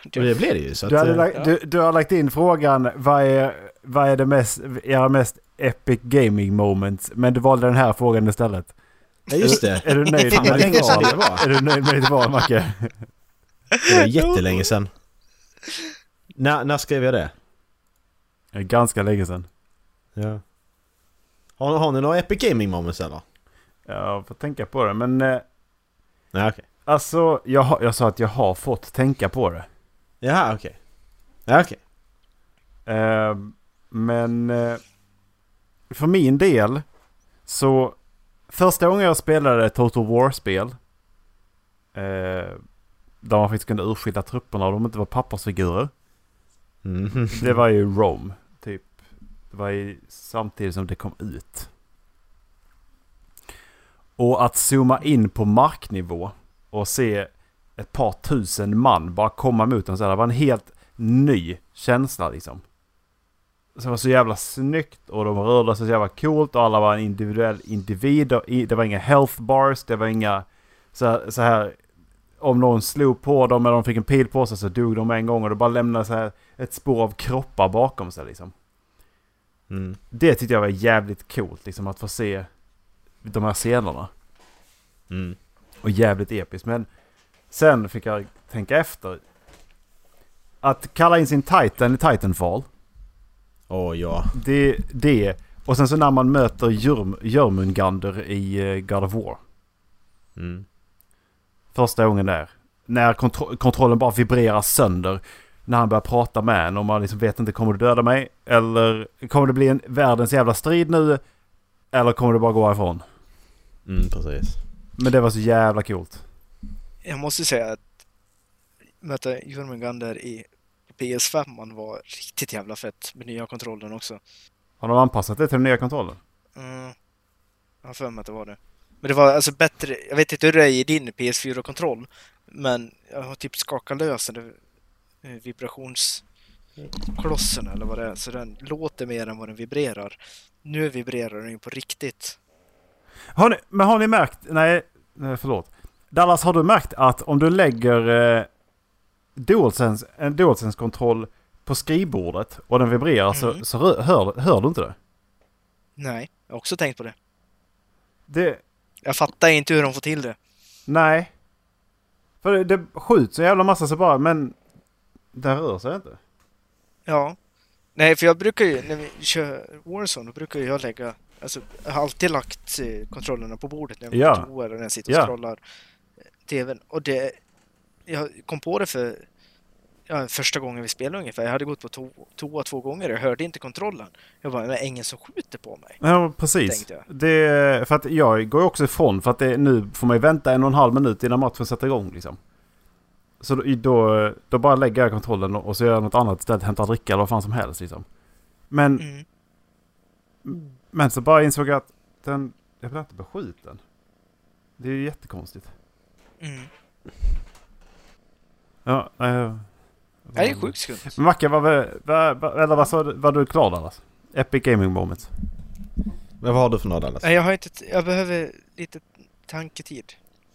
Speaker 1: Och det blev det ju. Så
Speaker 2: Du,
Speaker 1: att,
Speaker 2: hade
Speaker 1: eh,
Speaker 2: lagt, du, du har lagt in frågan vad är, vad är det mest, era mest epic gaming moments? Men du valde den här frågan istället.
Speaker 1: eh, Ja just det.
Speaker 2: Är du nöjd
Speaker 1: Fan
Speaker 2: med
Speaker 1: vad
Speaker 2: ditt
Speaker 1: länge sedan
Speaker 2: val?
Speaker 1: det var.
Speaker 2: Är du nöjd med ditt val Macke?
Speaker 1: Det var jättelänge sedan. När, när skrev jag det?
Speaker 2: Ganska länge sedan.
Speaker 1: Ja. Har, har ni några Epic Gaming Moments eller?
Speaker 2: Jag får tänka på det men... eh,
Speaker 1: Nej okej.
Speaker 2: Alltså, jag, har- jag sa att jag har fått tänka på det.
Speaker 1: Jaha, okej. Ja, okej.
Speaker 2: Eh, men eh, för min del så första gången jag spelade ett Total War-spel eh, där man faktiskt kunde urskilja trupperna och de inte var pappersfigurer.
Speaker 1: Mhm.
Speaker 2: Det var ju Rome, typ. Det var ju samtidigt som det kom ut. Och att zooma in på marknivå och se ett par tusen man bara komma mot en så här, det var en helt ny känsla liksom. Så det var så jävla snyggt och de rörde sig så jävla coolt och alla var en individuell individ. Och i- det var inga health bars, det var inga så här, så här om någon slog på dem eller de fick en pil på sig så dog de en gång och det bara lämnade så här ett spår av kroppar bakom sig liksom.
Speaker 1: Mm.
Speaker 2: Det tyckte jag var jävligt coolt liksom att få se de här scenerna.
Speaker 1: Mm.
Speaker 2: Och jävligt episkt. Men sen fick jag tänka efter. Att kalla in sin Titan i Titanfall.
Speaker 1: Åh ja.
Speaker 2: Det, det. Och sen så när man möter Jörm, Jörmungander i eh, God of War.
Speaker 1: Mm.
Speaker 2: Första gången där. När kontro- kontrollen bara vibrerar sönder. När han börjar prata med en och man liksom vet inte kommer du döda mig? Eller kommer det bli en världens jävla strid nu? Eller kommer det bara gå ifrån?
Speaker 1: Mm, precis.
Speaker 2: Men det var så jävla coolt.
Speaker 3: Jag måste säga att möta Jörmungandr i PS5 man var riktigt jävla fett med nya kontrollen också.
Speaker 2: Har de anpassat det till den nya kontrollen?
Speaker 3: Mm. Jag har för mig att det var det. Men det var alltså bättre, jag vet inte hur det är i din PS4-kontroll, men jag har typ skakat lös den där, eh, vibrationsklossen eller vad det är, så den låter mer än vad den vibrerar. Nu vibrerar den ju på riktigt.
Speaker 2: Har ni, men har ni märkt... Nej, nej, förlåt. Dallas, har du märkt att om du lägger eh, DualSense, en DualSense-kontroll på skrivbordet och den vibrerar så,
Speaker 3: Mm.
Speaker 2: så rö- hör, hör du inte det?
Speaker 3: Nej, jag har också tänkt på det.
Speaker 2: det
Speaker 3: Jag fattar inte hur de får till det.
Speaker 2: nej. För det, det skjuts en jävla massa så bara, men den rör sig inte.
Speaker 3: Ja. Nej, för jag brukar ju, när vi kör Warzone, då brukar jag lägga, alltså jag har alltid lagt eh, kontrollerna på bordet när jag går
Speaker 2: Ja.
Speaker 3: på toa eller när jag sitter och
Speaker 2: Ja.
Speaker 3: scrollar eh, TVn. Och det, jag kom på det för ja, första gången vi spelade ungefär. Jag hade gått på to- toa två gånger och jag hörde inte kontrollen. Jag bara, men det är ingen som skjuter på mig.
Speaker 2: Ja, precis.
Speaker 3: Tänkte
Speaker 2: Det, för att jag går ju också ifrån för att det, nu får man ju vänta en och en halv minut innan matchen sätter igång liksom. Så då, då, då bara lägger jag kontrollen och så gör jag något annat istället. Hämtar dricka eller vad fan som helst liksom. Men,
Speaker 3: Mm.
Speaker 2: men så bara insåg jag att den... Jag blev inte beskjuten. Det är ju jättekonstigt.
Speaker 3: Mm.
Speaker 2: Ja, eh, nej, jag-
Speaker 3: Ja, det är sjukt skumt.
Speaker 2: Men Mackan, vad, vad, vad, eller vad, sa du- var du klar Dallas? Epic Gaming Moment.
Speaker 1: Men vad har du för några Dallas?
Speaker 3: Nej, jag har inte, t- jag behöver lite tanketid.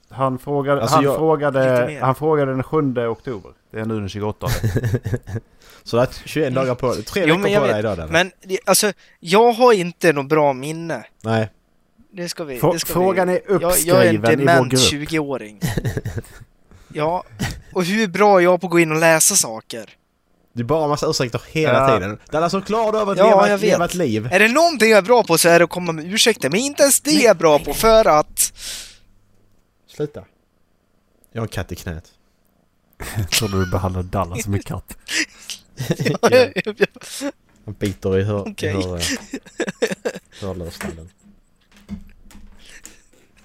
Speaker 2: Han frågade,
Speaker 1: Alltså,
Speaker 2: han,
Speaker 1: jag-
Speaker 2: frågade,
Speaker 3: Lite mer.
Speaker 2: han frågade den 7 oktober. Det är nu den 28.
Speaker 1: Så du har 21
Speaker 3: Mm.
Speaker 1: dagar på Tre
Speaker 3: Jo, men
Speaker 1: veckor
Speaker 3: jag
Speaker 1: på dig
Speaker 3: vet.
Speaker 1: idag Dallas.
Speaker 3: Men det- alltså, jag har inte något bra minne.
Speaker 1: Nej.
Speaker 3: Det ska vi,
Speaker 2: Frå-
Speaker 3: det ska vi...
Speaker 2: Frågan är
Speaker 3: Jag,
Speaker 2: uppskriven
Speaker 3: jag är en
Speaker 2: i vår
Speaker 3: dement
Speaker 2: grupp.
Speaker 3: 20-åring. Ja, och hur bra är jag på att gå in och läsa saker?
Speaker 1: Det är bara en massa ursäkter hela
Speaker 2: Ja.
Speaker 1: tiden. Dallas, så klar du över att
Speaker 3: Ja,
Speaker 1: leva,
Speaker 3: jag
Speaker 1: ett,
Speaker 3: vet.
Speaker 1: leva ett liv.
Speaker 3: Är det någonting jag är bra på så är det att komma med ursäkter, men inte ens det är jag bra på för att...
Speaker 1: Sluta. Jag har en katt i knät.
Speaker 2: Tror du behandlar Dallas som en katt?
Speaker 1: Ja, Han biter i hör...
Speaker 3: Okej.
Speaker 1: Okay. hör hörlursnallen.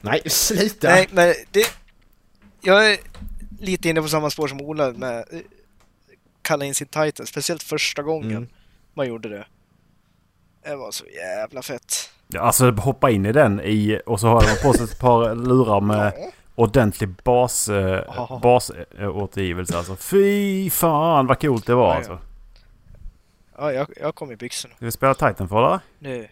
Speaker 1: Nej, sluta!
Speaker 3: Nej, men det... Jag är lite inne på samma spår som Ola med eh, kalla in sin titan, speciellt första gången
Speaker 1: Mm.
Speaker 3: man gjorde det. Det var så jävla fett.
Speaker 2: Ja, alltså hoppa in i den i, och så har de på sig ett par lurar med
Speaker 3: Ja.
Speaker 2: ordentlig bas, eh,
Speaker 3: Ja.
Speaker 2: basåtergivelse. Alltså fy fan vad coolt det var
Speaker 3: Ja, ja.
Speaker 2: alltså.
Speaker 3: Ja, jag, jag kom i byxorna.
Speaker 2: Ska vi spela Titanfall eller?
Speaker 3: Nu.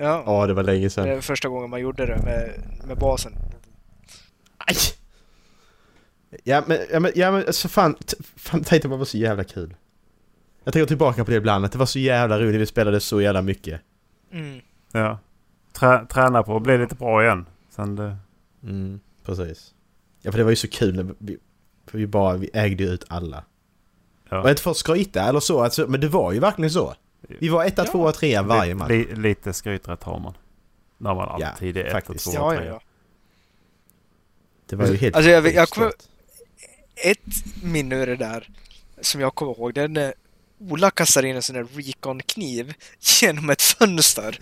Speaker 3: Ja.
Speaker 1: Ja, det var länge
Speaker 3: Det
Speaker 1: sedan.
Speaker 3: är första gången man gjorde det med, med basen.
Speaker 1: Aj! Ja men, ja men, ja men alltså fan, t- fan Titan var så jävla kul. Jag tänker tillbaka på det ibland, att det var så jävla roligt, vi spelade så jävla mycket.
Speaker 3: Mm.
Speaker 2: Ja. Trä, träna på att bli lite bra igen. Sen det...
Speaker 1: Mm, precis. Ja för det var ju så kul när vi, för vi bara, vi ägde ju ut alla.
Speaker 2: Ja.
Speaker 1: Och inte för att skryta eller så, alltså, men det var ju verkligen så. Vi var etta,
Speaker 3: Ja.
Speaker 1: tvåa, trea varje
Speaker 2: li,
Speaker 1: match.
Speaker 2: li, lite skryträtt har man. När man alltid är ett och
Speaker 1: faktiskt.
Speaker 2: två
Speaker 3: Ja,
Speaker 2: och
Speaker 3: ja,
Speaker 2: tre.
Speaker 3: ja.
Speaker 1: Det var ju helt
Speaker 3: Alltså, jag vet- jag
Speaker 1: sjukt
Speaker 3: kommer-
Speaker 1: stort.
Speaker 3: Ett minne ur det där som jag kommer ihåg, det är när Ola kastar in en sån där Recon-kniv genom ett fönster.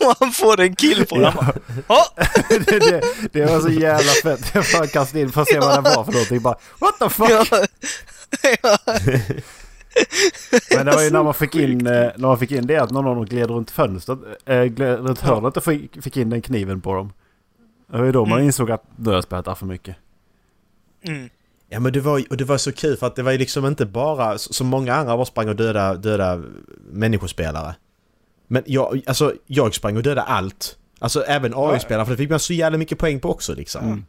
Speaker 3: och han får en kill på den. Han bara, "Ja,
Speaker 2: det, det, det var så jävla fett. Jag bara kastade in för att se vad det var för någonting. Bara, What the fuck?
Speaker 3: ja, ja,
Speaker 2: Men det var ju när man fick in, eh, när man fick in det att någon av dem gled runt fönstret, äh, gled runt hörnet och fick, fick in den kniven på dem. Det var ju då man
Speaker 3: Mm.
Speaker 2: insåg att nu har jag spelat där för mycket.
Speaker 3: mm,
Speaker 1: Ja men det var, ju- och det var så kul för att det var ju liksom inte bara s- som många andra var sprang och döda, döda människospelare. Men jag, alltså, jag sprang och dödade allt. Alltså även AI-spelare för det fick man så jävla mycket poäng på också liksom.
Speaker 2: Mm.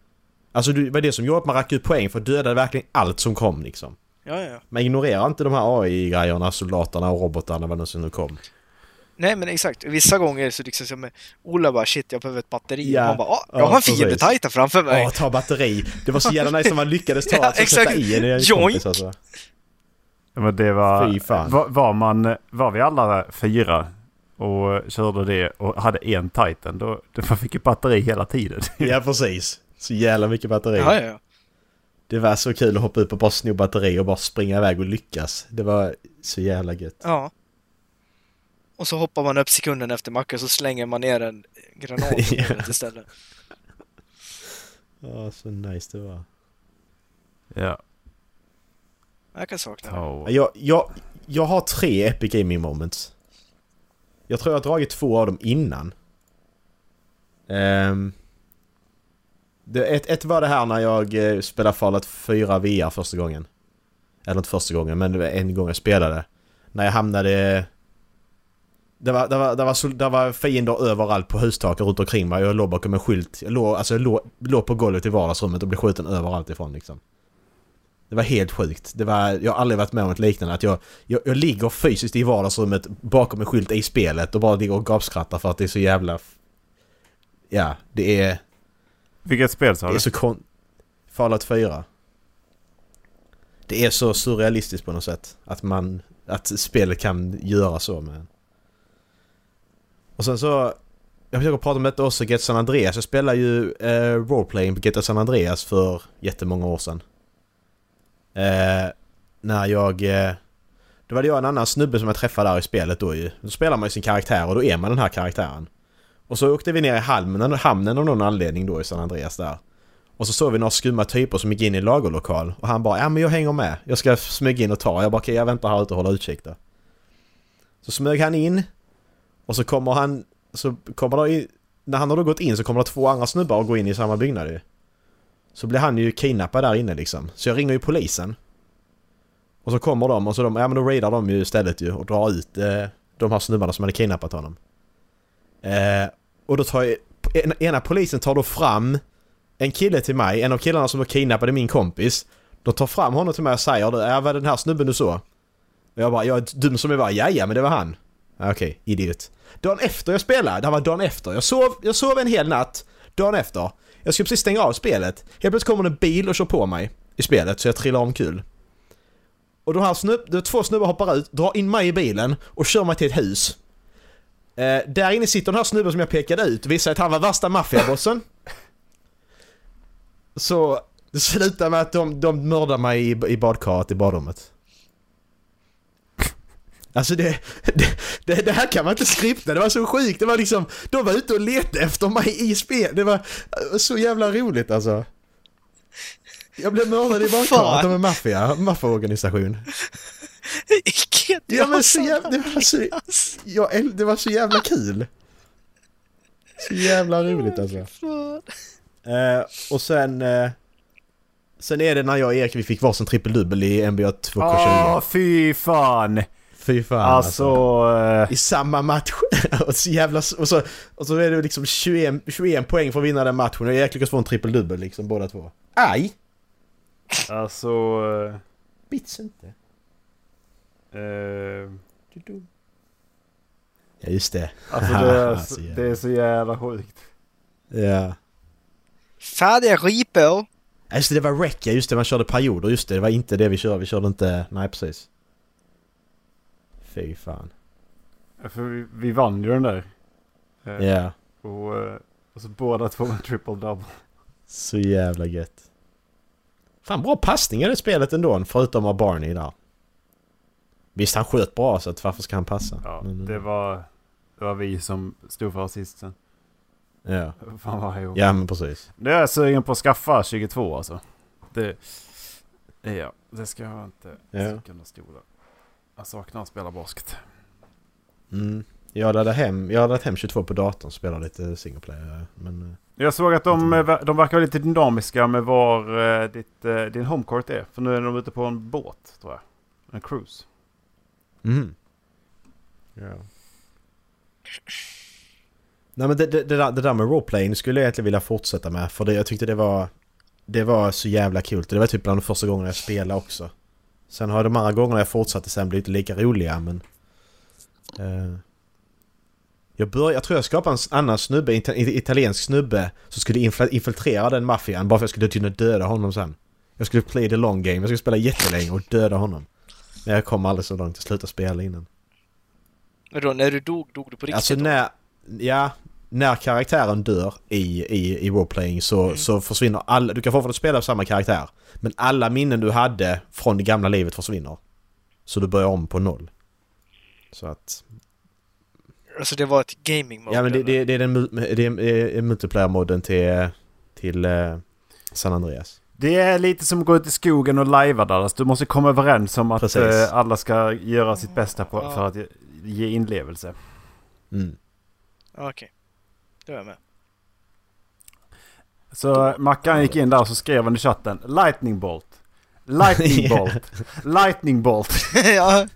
Speaker 1: Alltså det var det som gjorde att man rackade ut poäng för dödade verkligen allt som kom liksom.
Speaker 3: ja, ja.
Speaker 1: Man ignorerar inte de här AI-grejerna, soldaterna och robotarna vad det nu som nu kom.
Speaker 3: Nej men exakt, vissa gånger så liksom som Ola bara shit jag behöver ett batteri
Speaker 1: Ja.
Speaker 3: och han bara ah, jag
Speaker 1: Ja,
Speaker 3: har en fiende
Speaker 1: precis. typ.
Speaker 3: tajta framför mig.
Speaker 1: Åh, ta batteri! Det var så jävla nice när man lyckades ta
Speaker 3: Ja,
Speaker 1: att sätta
Speaker 3: exakt.
Speaker 1: i en i en
Speaker 3: Joink.
Speaker 1: kompis alltså.
Speaker 2: Ja, Men det var...
Speaker 1: Fy fan.
Speaker 2: Var, var, man, var vi alla fyra och körde det och hade en Titan då, då man fick ju batteri hela tiden.
Speaker 1: Ja precis. Så jävla mycket batteri.
Speaker 3: ja, ja, ja.
Speaker 1: Det var så kul att hoppa upp och bara sno batteri och bara springa iväg och lyckas. Det var så jävla gött.
Speaker 3: ja. Och så hoppar man upp sekunden efter macken så slänger man ner en granat på
Speaker 1: Ja.
Speaker 3: bordet istället.
Speaker 1: Ja, så nice det var.
Speaker 2: ja.
Speaker 3: Jag kan sakna det.
Speaker 2: Oh.
Speaker 1: Jag, jag, jag har tre Epic Gaming Moments. Jag tror jag har dragit två av dem innan. Ehm, det, ett, ett var det här när jag eh, spelade Fallout 4 VR första gången. Eller inte första gången, men det var en gång jag spelade. När jag hamnade... Det var, det, var, det, var, sol- det var fiender överallt på hustaken runt omkring mig. Jag låg bakom en skylt. Jag låg, alltså jag låg, låg på golvet i vardagsrummet och blev skjuten överallt ifrån liksom. Det var helt sjukt. Det var, jag har aldrig varit med om ett liknande. Att jag, jag, jag ligger fysiskt i vardagsrummet bakom en skylt i spelet och bara ligger och gapskrattar för att det är så jävla... f- Ja, det är...
Speaker 2: Vilket spel sa
Speaker 1: Det är
Speaker 2: du?
Speaker 1: så kon... Fallout 4. Det är så surrealistiskt på något sätt. Att man... Att spelet kan göra så med en. Och sen så... Jag försöker prata om detta också, Get San Andreas. Jag spelade ju eh, roleplaying på Get San Andreas för jättemånga år sedan. Eh, när jag... Eh, då var det jag och en annan snubbe som jag träffade där i spelet då ju. Då spelar man ju sin karaktär och då är man den här karaktären. Och så åkte vi ner i hamnen, hamnen av någon anledning då i San Andreas där. Och så såg vi några skumma typer som gick in i en lagerlokal och han bara ja men jag hänger med. Jag ska smyga in och ta. Jag bara okej jag väntar här ute och håller utkik då. Så smög han in och så kommer han, så kommer det, i- när han har då gått in så kommer det två andra snubbar och gå in i samma byggnad ju. Så blir han ju kidnappad där inne liksom. Så jag ringer ju polisen. Och så kommer de och så de, ja men då raidar de ju istället ju och drar ut eh, de här snubbarna som hade kidnappat honom. Eh, och då tar ju, en- ena polisen tar då fram en kille till mig, en av killarna som var kidnappade min kompis. De tar fram honom till mig och säger du, är var det den här snubben du såg? Och jag bara, jag är dum som jag var, jaja men det var han. Ja, Okej, idiot. Dagen efter jag spelade, det här var dagen efter, jag sov, jag sov en hel natt, dagen efter. Jag skulle precis stänga av spelet. Helt plötsligt kommer en bil och kör på mig i spelet så jag trillar omkull. Och de här snubb, de två snubbar hoppar ut, drar in mig i bilen och kör mig till ett hus. Eh, där inne sitter den här snubben som jag pekade ut och visade att han var värsta maffiabossen. Så det slutar med att de, de mördar mig i, i badkaret i badrummet. Alltså det, det, det, det här kan man inte skripta, det var så sjukt. Det var liksom, de var ute och letade efter mig i spel. Det var eh, så jävla roligt alltså. Jag blev mördad i badkaret
Speaker 3: Fan.
Speaker 1: av en maffia, maffiaorganisation.
Speaker 3: Icke
Speaker 1: Ja men så jävla, alltså- det var så, jag, äl- det var så jävla kul. Så jävla roligt alltså.
Speaker 3: Fan.
Speaker 1: Eh, och sen... Eh, sen är det när jag och Erik vi fick varsin trippeldubbel i NBA 2K20.
Speaker 2: Åh, fy fan!
Speaker 1: Fy fan
Speaker 2: Alltså... eh,
Speaker 1: I samma match. och, så jävla, och, så, och så är det liksom 21, 21 poäng för att vinna den matchen och Erik lyckas få en trippeldubbel liksom båda två. Aj!
Speaker 2: alltså...
Speaker 1: Bits inte.
Speaker 2: eh, eh,
Speaker 1: Du är dum. Ja just det.
Speaker 2: alltså det är,
Speaker 1: Alltså,
Speaker 2: så- det är så jävla sjukt.
Speaker 1: Ja.
Speaker 3: Färdiga ripor!
Speaker 1: Ja, Just det, det var wreck ja, just det man körde perioder, just det, det var inte det vi körde, vi körde inte, nej precis. Fy fan.
Speaker 2: För vi, vi vann ju den där. Eh,
Speaker 1: Ja.
Speaker 2: Och, eh, och så båda två med triple double.
Speaker 1: Så jävla gött. Fan bra passningar i det spelet ändå, förutom av Barney där. Visst han sköt bra så att varför ska han passa?
Speaker 2: Ja,
Speaker 1: Men-
Speaker 2: det var, det var vi som stod för assisten.
Speaker 1: ja.
Speaker 2: Fan vad jag
Speaker 1: ja men precis.
Speaker 2: Nu är jag sugen på att skaffa 22 alltså. Det, ja, det ska jag inte
Speaker 1: Ja.
Speaker 2: sticka under stolen. Jag saknar att spela basket.
Speaker 1: Mm. Jag laddade hem, jag laddade hem 22 på datorn och spelade lite single player. Men eh,
Speaker 2: Jag såg att de,
Speaker 1: Inte
Speaker 2: de verkar vara lite dynamiska med var eh, ditt, eh, din homecourt är. För nu är de ute på en båt tror jag. En cruise.
Speaker 1: Mm. Ja. Nej men det, det, det, där, det där med roleplaying skulle jag egentligen vilja fortsätta med för det, jag tyckte det var... Det var så jävla kul. Det var typ bland de första gångerna jag spelade också. Sen har de andra gångerna jag fortsatte sen blivit lika roliga men... Eh, jag, började, jag tror jag skapade en s- annan snubbe, ita- it- italiensk snubbe, som skulle infla- infiltrera den maffian bara för att jag skulle kunna döda honom sen. Jag skulle play the long game, jag skulle spela jättelänge och döda honom. Men jag kom aldrig så långt, jag slutade spela innan.
Speaker 3: Men då, när du dog, dog du på riktigt?
Speaker 1: Alltså
Speaker 3: då?
Speaker 1: när, ja, när karaktären dör i, i, i roleplaying så, så försvinner alla, du kan fortfarande spela samma karaktär. Men alla minnen du hade från det gamla livet försvinner. Så du börjar om på noll. Så att,
Speaker 3: Alltså det var ett gaming mode?
Speaker 1: ja men det,
Speaker 3: eller?
Speaker 1: det, det är den mu- det är eh, multiplayer-modden till, till eh, San Andreas.
Speaker 2: Det är lite som att gå ut i skogen och lajva där. Alltså, du måste komma överens om att
Speaker 1: Precis.
Speaker 2: eh, alla ska göra sitt bästa på,
Speaker 3: Mm. Ja.
Speaker 2: för att ge- ge inlevelse.
Speaker 1: Mm.
Speaker 3: Ja, Okej. Då är jag med.
Speaker 2: Så Mackan gick in där och så skrev han i chatten Lightning Bolt. Lightning
Speaker 1: Ja.
Speaker 2: Bolt. Lightning Bolt.
Speaker 3: ja.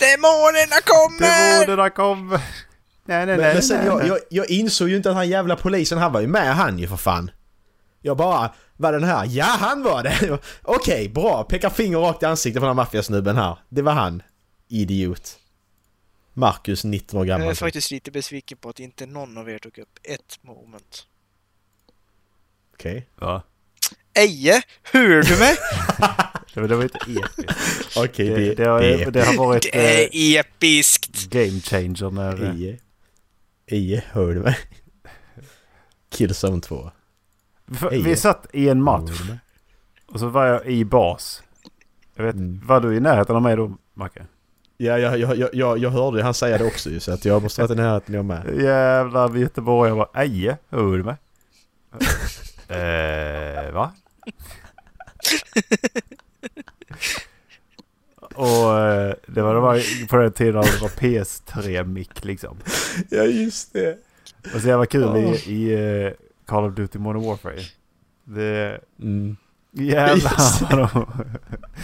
Speaker 3: Demonerna kommer!
Speaker 2: Demonerna kom. Nej, nej,
Speaker 1: Men,
Speaker 2: nej.
Speaker 1: men sen,
Speaker 2: nej,
Speaker 1: jag,
Speaker 2: nej.
Speaker 1: jag, jag insåg ju inte att han jävla polisen, han var ju med han ju för fan. Jag bara, var den här? Ja, han var det! Okej, bra! Pekar finger rakt i ansiktet på den här maffiasnubben här. Det var han. Idiot. Marcus, 19 år
Speaker 3: Jag är
Speaker 1: gammal. Okej.
Speaker 3: faktiskt lite besviken på att inte någon av er tog upp ett moment. Eje, hör du mig?
Speaker 2: Ja, men Det var inte episkt.
Speaker 1: Okej,
Speaker 2: Det,
Speaker 1: det,
Speaker 2: det, har, det har varit
Speaker 3: Det
Speaker 2: eh,
Speaker 3: är episkt!
Speaker 2: game changer när... eh,
Speaker 1: I... I... Hör du mig? Killzone 2.
Speaker 2: eh, för-
Speaker 1: Ej.
Speaker 2: Vi satt i en match
Speaker 1: Hör du mig?
Speaker 2: och så var jag i bas. Jag vet,
Speaker 1: Mm.
Speaker 2: Var du i närheten av mig då, Mackan?
Speaker 1: Ja, jag, jag, jag, jag, jag hörde ju han säga det också ju, så att jag måste ha varit i närheten jag med.
Speaker 2: Jävlar Göteborg. Jag bara eje, hör du mig? eh, va? Och eh, det var, det var på den tiden när det var PS3-mick liksom.
Speaker 1: Ja, just det.
Speaker 2: Och så jävla kul i, i eh, Call of Duty Modern Warfare. Det...
Speaker 1: Mm. Just
Speaker 2: Jävlar vad de...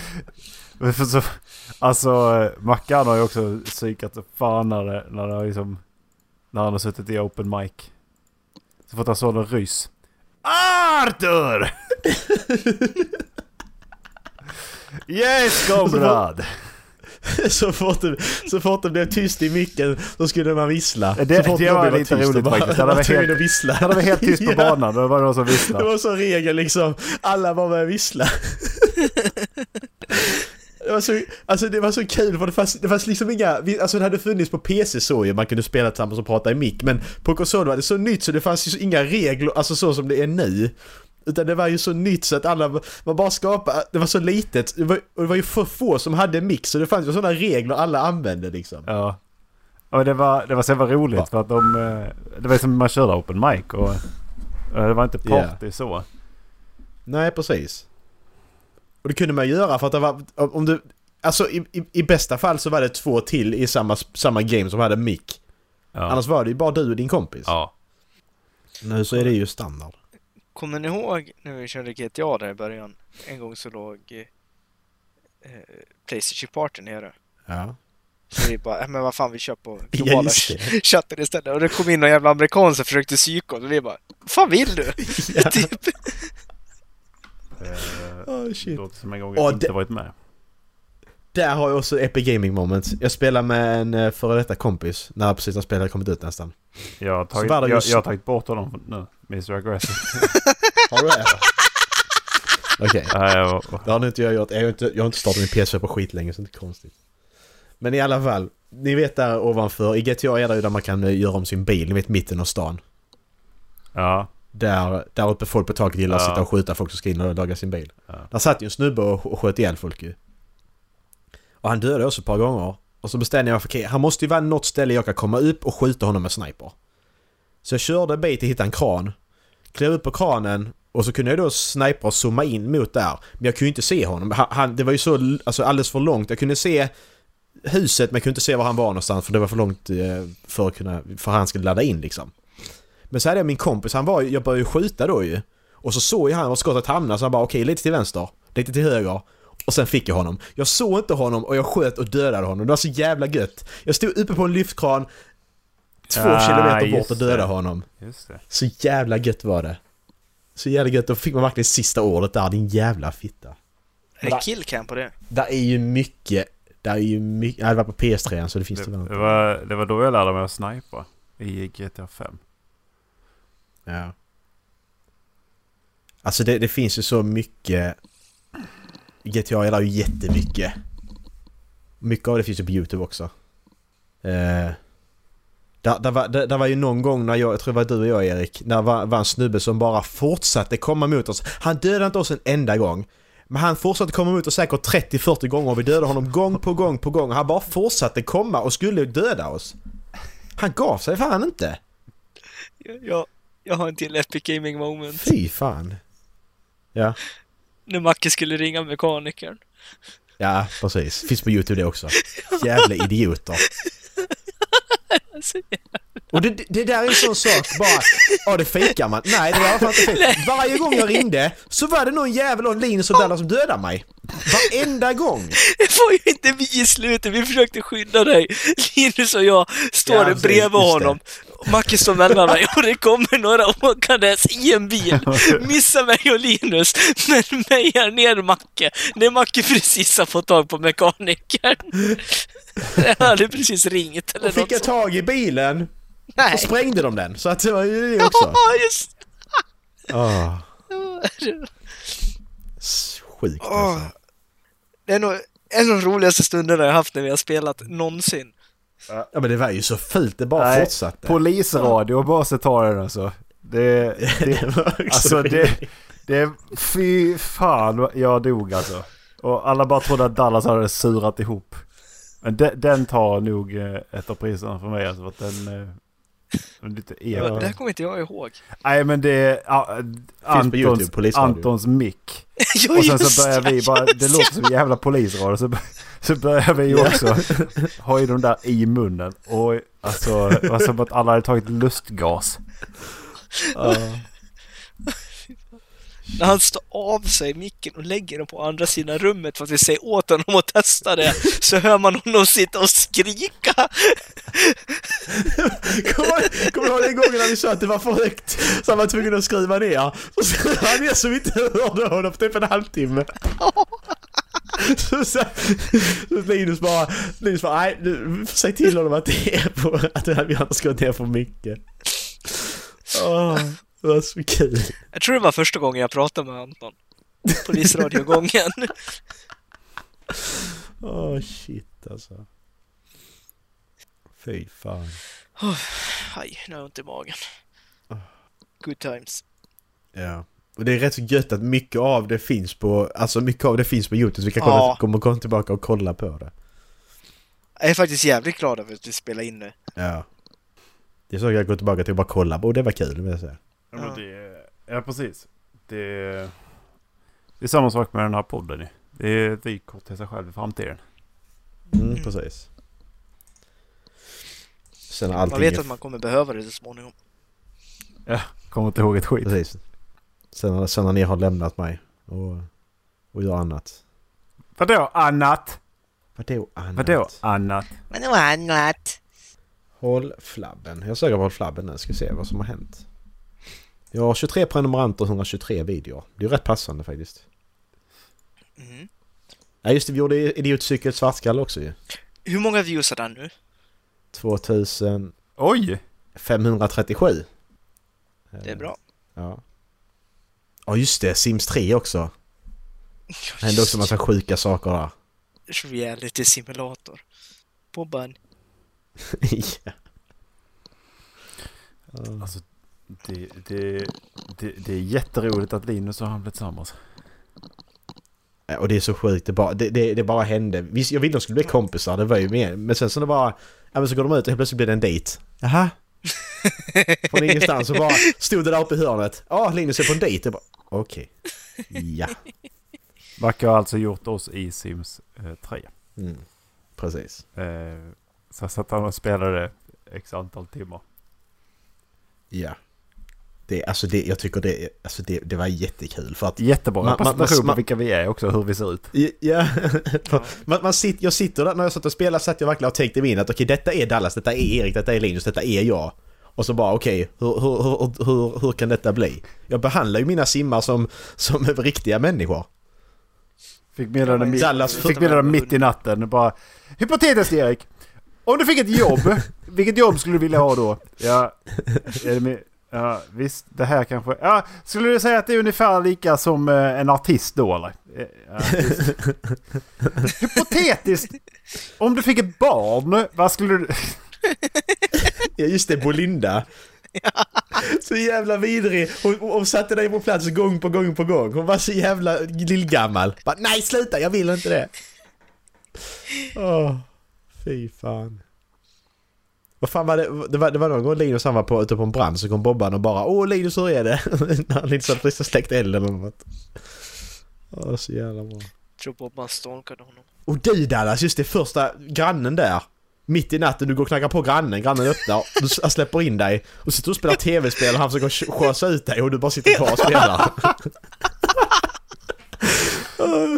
Speaker 2: Men för så- Alltså eh, Mackan har ju också psykat som fan när, det, när, det har liksom, när han har suttit i open mic. Så fått han såg en ryss. Arthur! yes komrad!
Speaker 1: Så fort, det, så fort det blev tyst i micken så skulle man vissla.
Speaker 2: Det-
Speaker 1: så fort
Speaker 2: det
Speaker 1: någon
Speaker 2: var
Speaker 1: blev
Speaker 2: lite
Speaker 1: tyst, då
Speaker 2: roligt
Speaker 1: bara-
Speaker 2: faktiskt. Det
Speaker 1: Man
Speaker 2: var
Speaker 1: var tvungen
Speaker 2: helt-
Speaker 1: att vissla.
Speaker 2: Det var helt tyst på
Speaker 1: Ja,
Speaker 2: banan. Det var någon som
Speaker 1: Det
Speaker 2: visslade.
Speaker 1: var så regel liksom. Alla bara började vissla. Det var, så, alltså det var så kul för det fanns, det fanns liksom inga, vi- alltså det hade funnits på PC så ju, man kunde spela tillsammans och prata i mick men på konsol var det så nytt så det fanns ju så inga regler, alltså så som det är nu. Utan det var ju så nytt så att alla, man bara skapade, det var så litet det var, och det var ju för få som hade mick så det fanns ju sådana regler alla använde liksom.
Speaker 2: Ja. Och det var, det var så jävla roligt
Speaker 1: Ja.
Speaker 2: för att de... eh, Det var som man körde open mic och... eh, Det var inte party så.
Speaker 1: Nej, precis. Och det kunde man göra för att det var... Om du, alltså i, i, i bästa fall så var det två till i samma, samma game som hade mick.
Speaker 2: Ja.
Speaker 1: Annars var det ju bara du och din kompis.
Speaker 2: ja.
Speaker 1: Nu så är det ju standard.
Speaker 3: Kommer ni ihåg när vi körde GTA där i början? En gång så låg eh, eh, Playstation Party nere.
Speaker 1: Ja.
Speaker 3: Så vi bara, "Äh, men vad fan vi kör på
Speaker 1: Ja,
Speaker 3: globala
Speaker 1: just det.
Speaker 3: chatten istället. Och det kom in någon jävla amerikan som försökte psyka oss och vi bara, vad fan vill du?
Speaker 1: Ja.
Speaker 3: typ.
Speaker 2: Eh,
Speaker 1: Oh, shit.
Speaker 2: Låter som en gång
Speaker 1: Åh,
Speaker 2: jag inte
Speaker 1: det-
Speaker 2: varit med.
Speaker 1: Där har jag också Epic Gaming Moment. Jag spelar med en eh, före detta kompis när precis när spelet hade kommit ut nästan.
Speaker 2: Jag har tagit,
Speaker 1: var det
Speaker 2: jag,
Speaker 1: just-
Speaker 2: jag har tagit bort honom från- nu. Mr Aggressive.
Speaker 1: Har du det? Okej.
Speaker 2: Nej, jag var-
Speaker 1: Det har nu inte jag gjort. Jag har inte, jag har inte startat min PS4 på skit länge, så det är inte konstigt. Men i alla fall, ni vet där ovanför, i GTA är det ju där man kan eh, göra om sin bil, ni vet mitten av stan.
Speaker 2: ja.
Speaker 1: Där, där uppe folk på taket gillar att
Speaker 2: Ja.
Speaker 1: sitta och skjuta folk som ska in och laga sin bil.
Speaker 2: Ja.
Speaker 1: Där satt ju en snubbe och och sköt ihjäl folk ju. Och han dödade oss ett par gånger. Och så bestämde jag mig för okej, han måste ju vara något ställe jag kan komma upp och skjuta honom med sniper. Så jag körde en bit till att hitta en kran. Klev upp på kranen och så kunde jag då sniper och zooma in mot där. Men jag kunde ju inte se honom. Han, han, det var ju så l- alltså, alldeles för långt. Jag kunde se huset men jag kunde inte se var han var någonstans för det var för långt eh, för att kunna, för han skulle ladda in liksom. Men så hade jag min kompis, han var ju- jag började ju skjuta då ju. Och så såg ju han var skottet hamnade så han bara okej lite till vänster, lite till höger. Och sen fick jag honom. Jag såg inte honom och jag sköt och dödade honom. Det var så jävla gött. Jag stod uppe på en lyftkran två
Speaker 2: Ah,
Speaker 1: kilometer bort
Speaker 2: just
Speaker 1: och dödade
Speaker 2: det.
Speaker 1: honom.
Speaker 2: Just det.
Speaker 1: Så jävla gött var det. Så jävla gött, då fick man verkligen sista ordet där, din jävla fitta.
Speaker 3: Är det killcam på det?
Speaker 1: Där är ju mycket, där är ju mycket, ja, det var på PS3 så det finns
Speaker 2: Det,
Speaker 1: tyvärr inte.
Speaker 2: det, var, det var då jag lärde mig att snipa. I GTA 5.
Speaker 1: Ja. Alltså det, det finns ju så mycket... GTA gillar ju jättemycket. Mycket av det finns ju på YouTube också. Eh, där, där, var, där, där var ju någon gång när jag, jag tror det var du och jag Erik, när var, var en snubbe som bara fortsatte komma mot oss. Han dödade inte oss en enda gång. Men han fortsatte komma mot oss säkert 30-40 gånger och vi dödade honom gång på gång på gång. Han bara fortsatte komma och skulle döda oss. Han gav sig fan inte.
Speaker 3: Jag, jag har en till Epic Gaming moment.
Speaker 1: Fy fan. Ja,
Speaker 3: När Macke skulle ringa mekanikern.
Speaker 1: ja precis. Finns på YouTube det också. Jävla idioter. Och det, det där är en sån sak bara, ja det fejkar man. Nej det var fan inte fejk. Varje gång jag ringde så var det någon jävel och Linus och Dallas som dödade mig. Varenda gång!
Speaker 3: Det var ju inte vi i slutet, vi försökte skydda dig. Linus och jag står
Speaker 1: Ja,
Speaker 3: där
Speaker 1: precis,
Speaker 3: bredvid
Speaker 1: just
Speaker 3: honom. Och Macke står mellan mig och det kommer några åkandes i en bil. Missar mig och Linus, men mejar ner Macke. När Macke precis har fått tag på mekanikern. Han hade precis ringt eller
Speaker 1: Och fick
Speaker 3: något
Speaker 1: jag
Speaker 3: sånt.
Speaker 1: tag i bilen
Speaker 3: Nej.
Speaker 1: och sprängde de den. Så att det var ju det också.
Speaker 3: Ja, just
Speaker 1: Oh, sjukt alltså.
Speaker 3: Det är nog en av de roligaste stunderna jag har haft när vi har spelat någonsin.
Speaker 1: Ja men det var ju så fult, det bara
Speaker 2: Nej,
Speaker 1: fortsatte.
Speaker 2: Polisradio och bara så tar den alltså. Det, det,
Speaker 1: var också
Speaker 2: alltså det, det, fy fan vad- jag dog alltså. Och alla bara trodde att Dallas hade surat ihop. Men de, den tar nog eh, ett av priserna för mig alltså. För att den... eh, den är Lite
Speaker 3: Det
Speaker 2: ego.
Speaker 3: Det här kommer inte jag ihåg.
Speaker 2: Nej men det är ah, Antons,
Speaker 1: YouTube, polisradio.
Speaker 2: Antons mick.
Speaker 3: Ja,
Speaker 2: Och sen
Speaker 3: just
Speaker 2: så börjar
Speaker 3: det,
Speaker 2: vi bara, det
Speaker 3: just
Speaker 2: låter som jävla polisradio. Så, bör- så börjar vi ju också ha ju de där i munnen. Och alltså, det var som att alla hade tagit lustgas.
Speaker 1: Ja.
Speaker 3: När han står av sig micken och lägger den på andra sidan rummet för att vi säger åt honom att testa det, så hör man honom sitta och skrika.
Speaker 1: Kommer kommer du ihåg den gången när vi sa att det var för högt? Så han var tvungen att skriva ner. Så skrev han ner så vi inte hörde honom på typ en halvtimme. Så, så, så Linus bara, Linus bara, nej, nu, säg till honom att det är på, att det här, vi har inte skrivit ner för mycket. Åh, det var så kul.
Speaker 3: Jag tror det var första gången jag pratade med Anton. Polisradiogången.
Speaker 1: Åh shit alltså. Fy fan.
Speaker 3: Aj, nu har jag ont i magen. Good times.
Speaker 1: Ja. Och det är rätt så gött att mycket av det finns på, alltså mycket av det finns på YouTube så vi kan komma,
Speaker 3: Ja.
Speaker 1: komma, komma tillbaka och kolla på det.
Speaker 3: Jag är faktiskt jävligt glad över att vi spelar in det.
Speaker 1: Ja. Det är så jag går tillbaka till och bara kolla på, och det var kul vill jag säga.
Speaker 2: Ja, men det, ja precis. Det, det är samma sak med den här podden ju. Det är ett vykort till sig själv i framtiden.
Speaker 1: Mm,
Speaker 3: Mm.
Speaker 1: precis. Sen har
Speaker 3: Man
Speaker 1: allting...
Speaker 3: vet att man kommer behöva det så småningom.
Speaker 2: Kommer inte ihåg ett skit.
Speaker 1: Precis. Sen, sen när ni har lämnat mig och, och gör annat.
Speaker 2: Vadå annat?
Speaker 1: Vadå annat?
Speaker 2: Vadå annat?
Speaker 3: Men det var annat.
Speaker 1: Håll flabben. Jag söker på Håll flabben nu, ska se vad som har hänt. Jag har 23 prenumeranter och 123 videor. Det är rätt passande faktiskt.
Speaker 3: Mm.
Speaker 1: Nej just det, vi gjorde Idiotcykel svartskalle också ju.
Speaker 3: Hur många views har den nu?
Speaker 1: 2537.
Speaker 2: Oj!
Speaker 3: Det är bra.
Speaker 1: Ja. Ja just det, Sims 3 också. Det hände också en massa sjuka saker där.
Speaker 3: Reality simulator. Bobban.
Speaker 1: Ja.
Speaker 2: Alltså, Det, det, det, det är jätteroligt att Linus och han blev tillsammans.
Speaker 1: Eh, Och det är så sjukt, det bara, det, det, det bara hände. Visst, jag ville de skulle bli kompisar, det var ju mer. Men sen så det bara... Ja men så går de ut och helt plötsligt blir det en dejt. Jaha? Från ingenstans så bara stod det där uppe i hörnet. Ja, Linus är på en dejt. Jag bara, Okej. Ja.
Speaker 2: Backe har alltså gjort oss i Sims eh, 3.
Speaker 1: Mm. Precis.
Speaker 2: Eh, så jag satt han och spelade x antal timmar.
Speaker 1: Ja. Det, alltså det, jag tycker det, alltså det, det var jättekul för att...
Speaker 2: Jättebra
Speaker 1: Man- man-
Speaker 2: representation
Speaker 1: man-
Speaker 2: av vilka vi är också, hur vi ser ut.
Speaker 1: Ja, man, man sitter, jag sitter där när jag satt och spelade satt jag verkligen och tänkte in att okej detta är Dallas, detta är Erik, detta är Linus, detta är jag. Och så bara okej, hur, hur, hur, hur, hur kan detta bli? Jag behandlar ju mina simmar som, som riktiga människor.
Speaker 2: Fick meddelande mitt,
Speaker 1: Dallas
Speaker 2: fick meddelande mitt i natten. Bara, Hypotetiskt Erik! Om du fick ett jobb, vilket jobb skulle du vilja ha då? Ja, är det med, ja visst, det här kanske... Ja, skulle du säga att det är ungefär lika som eh, en artist då eller? Eh, Ja, visst. Hypotetiskt! Om du fick ett barn, vad skulle du...
Speaker 1: Ja just det, Bolinda. Så jävla vidrig. Hon, hon satte dig på plats gång på gång på gång. Hon var så jävla lillgammal. Bara, Nej sluta, jag vill inte det. Åh, fy fan. Vad fan var det? Det var, det var någon gång Linus han var på, ute på en brand så kom Bobban och bara Åh Linus hur är det? När han inte satt precis och släckt elden eller något. Åh så jävla bra.
Speaker 3: Tror på att man stalkade honom.
Speaker 1: Och du Dallas, just det första grannen där. Mitt i natten, du går och knackar på grannen, grannen öppnar, du s- han släpper in dig och sitter och spelar tv-spel och han försöker sch- schasa ut dig och du bara sitter kvar och spelar.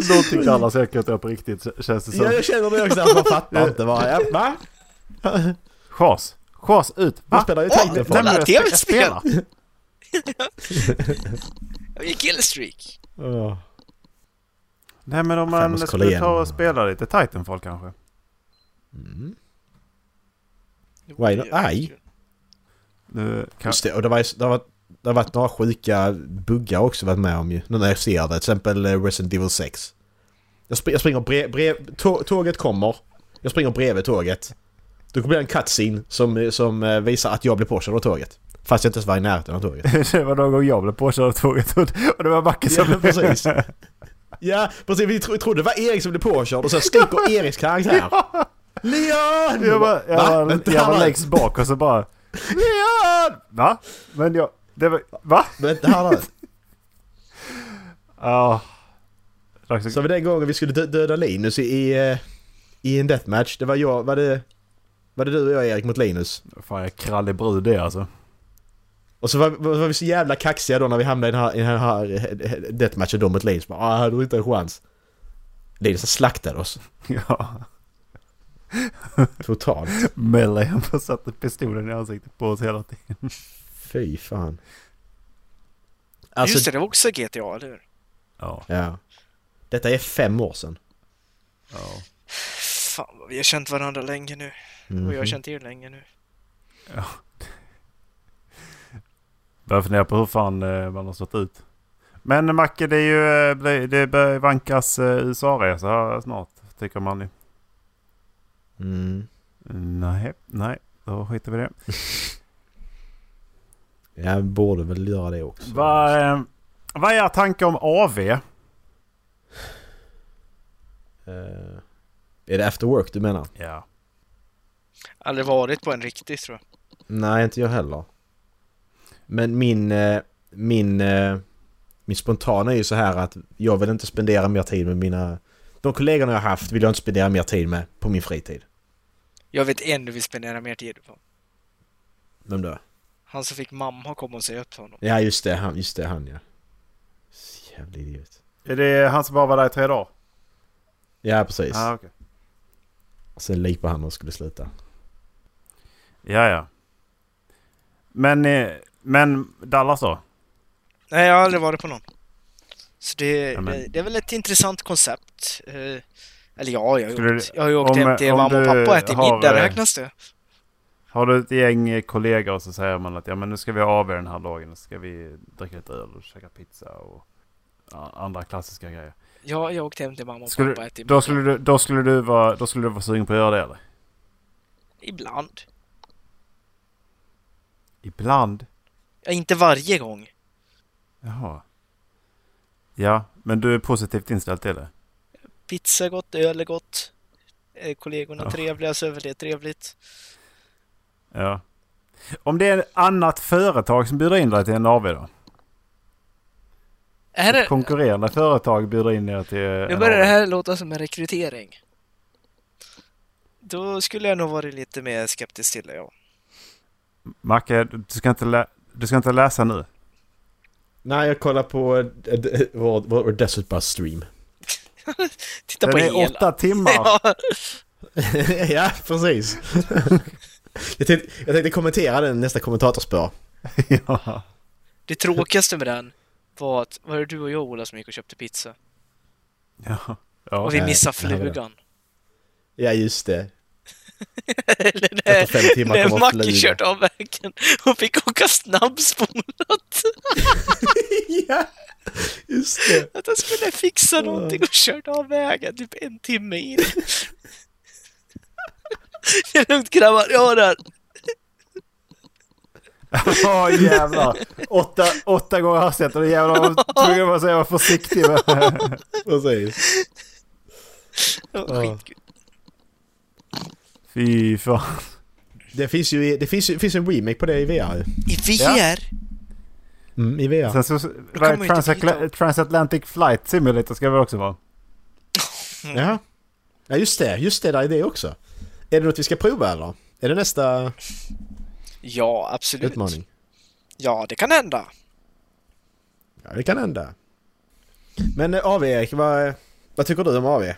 Speaker 2: Någonting alla säkert är på riktigt känns det
Speaker 1: Ja,
Speaker 2: som.
Speaker 1: jag känner det också, man fattar inte bara. Ja, va?
Speaker 2: Chas! Chas ut!
Speaker 1: Man
Speaker 2: Va?
Speaker 1: spelar ju
Speaker 3: Åh,
Speaker 1: Titanfall.
Speaker 2: Nej, men jag
Speaker 3: Det är väl
Speaker 2: spe- jag spelar.
Speaker 3: Jag är killstreak!
Speaker 1: Åh.
Speaker 2: Nej men om
Speaker 1: Fan, jag
Speaker 2: man
Speaker 1: måste kolla
Speaker 2: skulle ta
Speaker 1: igenom.
Speaker 2: och spela lite Titanfall kanske.
Speaker 1: Mm.
Speaker 3: Det
Speaker 1: Why
Speaker 3: vore
Speaker 1: not?
Speaker 3: ju
Speaker 1: Aj.
Speaker 3: kul.
Speaker 2: Nu kan...
Speaker 1: Just det, och det var ju, det har varit- det har varit några sjuka buggar också varit med om ju. Nu när jag ser det, till exempel eh, Resident Evil 6. Jag, spr- jag springer brev, brev tå- tåget kommer. Jag springer bredvid tåget. Då blir det en cutscene som, eh, som eh, visar att jag blir påkörd av tåget. Fast jag inte ens var i närheten av tåget.
Speaker 2: det var någon gång jag blev påkörd av tåget och och det var Backe som...
Speaker 1: Ja, precis. Ja, precis. Vi, tro, vi trodde det var Erik som blev påkörd och sen sticker Eriks karaktär. Leon!
Speaker 2: Jag var, jag
Speaker 1: Va?
Speaker 2: var,
Speaker 1: Vänta,
Speaker 2: jag
Speaker 1: han
Speaker 2: var
Speaker 1: var-
Speaker 2: längst bak och så bara... Leon! Va? Men jag... Det var... Va?
Speaker 1: Vänta, här nu.
Speaker 2: Ja... Dags att-
Speaker 1: Så var den gången vi skulle dö- döda Linus i, i, eh, i en deathmatch. Det var jag, var det, var det du och jag Erik mot Linus?
Speaker 2: Fan jag är krallig brud det alltså.
Speaker 1: Och så var, var, var vi så jävla kaxiga då när vi hamnade i den här, i den här eh, deathmatchen då mot Linus. Bara, ah, du har inte en chans. Linus han slaktade oss.
Speaker 2: Ja.
Speaker 1: Totalt.
Speaker 2: Mellan han bara satte pistolen i ansiktet på oss hela tiden.
Speaker 1: Fy fan. Alltså,
Speaker 3: Just det, det var också GTA, eller hur?
Speaker 2: Ja.
Speaker 1: ja. Detta är fem år sedan.
Speaker 2: Ja.
Speaker 3: Fan vad vi har känt varandra länge nu. Och jag har
Speaker 1: Mhm.
Speaker 3: känt er länge nu.
Speaker 2: Börjar fundera på hur fan eh, man har stått ut. Men Macke, det är ju... eh, Det, det börjar vankas eh, USA-resa här snart. Tycker man ju.
Speaker 1: Mm.
Speaker 2: Nej, nej. Då skiter vi i det.
Speaker 1: Jag borde väl göra det också.
Speaker 2: Vad, eh, vad är er tanke om AV?
Speaker 1: Eh, är det after work du menar?
Speaker 2: Ja.
Speaker 3: Aldrig varit på en riktig tror jag.
Speaker 1: Nej, inte jag heller. Men min, eh, min, eh, min spontana är ju så här att jag vill inte spendera mer tid med mina... De kollegorna jag har haft vill jag inte spendera mer tid med på min fritid.
Speaker 3: Jag vet en du vill spendera mer tid på.
Speaker 1: Vem då?
Speaker 3: Han som fick mamma komma och säga upp honom.
Speaker 1: Ja, just det. Han, just det, han ja. Jävla idiot.
Speaker 2: Är det han som bara var där i tre dagar?
Speaker 1: Ja, precis.
Speaker 2: Ah, okay.
Speaker 1: Sen lik på han och skulle sluta.
Speaker 2: Ja, ja. Men, eh, men Dallas då?
Speaker 3: Nej, jag har aldrig varit på någon. Så det,
Speaker 2: Ja, men-
Speaker 3: det, det är väl ett intressant koncept. Eh, eller ja, jag har,
Speaker 2: Skulle
Speaker 3: åkt,
Speaker 2: du-
Speaker 3: jag har ju åkt
Speaker 2: om-
Speaker 3: hem till
Speaker 2: om
Speaker 3: mamma och
Speaker 2: du
Speaker 3: pappa och ätit
Speaker 2: har,
Speaker 3: middag,
Speaker 2: eh,
Speaker 3: räknas det?
Speaker 2: Har du ett gäng eh, kollegor och så säger man att ja, men nu ska vi ha AV den här dagen. och Så ska vi dricka lite öl och käka pizza och ja, andra klassiska grejer.
Speaker 3: Ja, jag har åkt hem till mamma och
Speaker 2: Skulle-
Speaker 3: pappa och ätit middag.
Speaker 2: Då skulle du, då skulle du, vara, då skulle du vara sugen på att göra det eller?
Speaker 3: Ibland.
Speaker 2: Ibland.
Speaker 3: Ja, inte varje gång.
Speaker 2: Jaha. Ja, men du är positivt inställd till det?
Speaker 3: Pizza är gott, öl är gott. eh, Kollegorna är
Speaker 2: Ja.
Speaker 3: trevliga, så är väl det trevligt.
Speaker 2: Ja. Om det är ett annat företag som bjuder in dig till en AV då?
Speaker 3: Är det,
Speaker 2: Ett konkurrerande företag bjuder in er till
Speaker 3: nu
Speaker 2: en
Speaker 3: Eh. börjar det
Speaker 2: AV.
Speaker 3: här låta som en rekrytering. Då skulle jag nog varit lite mer skeptisk till det, ja.
Speaker 2: Macke, du ska, inte lä- du ska inte läsa nu.
Speaker 1: Nej, jag kollar på eh, d- vår, vår Desert Bus stream.
Speaker 3: Titta
Speaker 2: Den
Speaker 3: på
Speaker 2: är
Speaker 3: hela.
Speaker 2: åtta timmar.
Speaker 3: Ja,
Speaker 1: ja, precis. jag, tänkte, jag tänkte kommentera den nästa kommentatorspår.
Speaker 2: ja.
Speaker 3: det tråkigaste med den var att, var det du och jag Ola som gick och köpte pizza?
Speaker 2: Ja. ja.
Speaker 3: Och vi
Speaker 1: nej,
Speaker 3: missade
Speaker 1: det här var det.
Speaker 3: flugan.
Speaker 1: Ja, just det.
Speaker 3: Eller
Speaker 1: Efter
Speaker 3: när,
Speaker 1: fem timmar
Speaker 3: när
Speaker 1: kommer
Speaker 3: Macke
Speaker 1: flyga.
Speaker 3: körde av vägen och fick åka snabbspolat.
Speaker 1: ja, just det.
Speaker 3: Att han skulle fixa någonting och körde av vägen typ en timme in. Det är lugnt grabbar, jag har det här.
Speaker 2: Åh jävlar! Åtta, åtta gånger hastigheten och jävlar var tvungen att säga var försiktig med.
Speaker 1: Precis.
Speaker 3: Det var
Speaker 1: Ja.
Speaker 3: skitkul.
Speaker 2: Fy fan.
Speaker 1: Det finns ju i- det finns, ju- finns en remake på det i VR.
Speaker 3: I VR?
Speaker 2: Ja.
Speaker 1: Mm, I VR.
Speaker 2: Sen så, vad
Speaker 3: man
Speaker 2: är
Speaker 3: ju inte
Speaker 2: transatla-
Speaker 3: byta.
Speaker 2: Transatlantic Flight Simulator ska väl också vara?
Speaker 1: Ja. ja, just det. Just det, där är det också. Är det något vi ska prova eller? Är det nästa
Speaker 3: Ja, absolut.
Speaker 1: utmaning?
Speaker 3: Ja, det kan hända.
Speaker 1: Ja, det kan hända. Men eh, AV Erik, vad, vad tycker du om AV?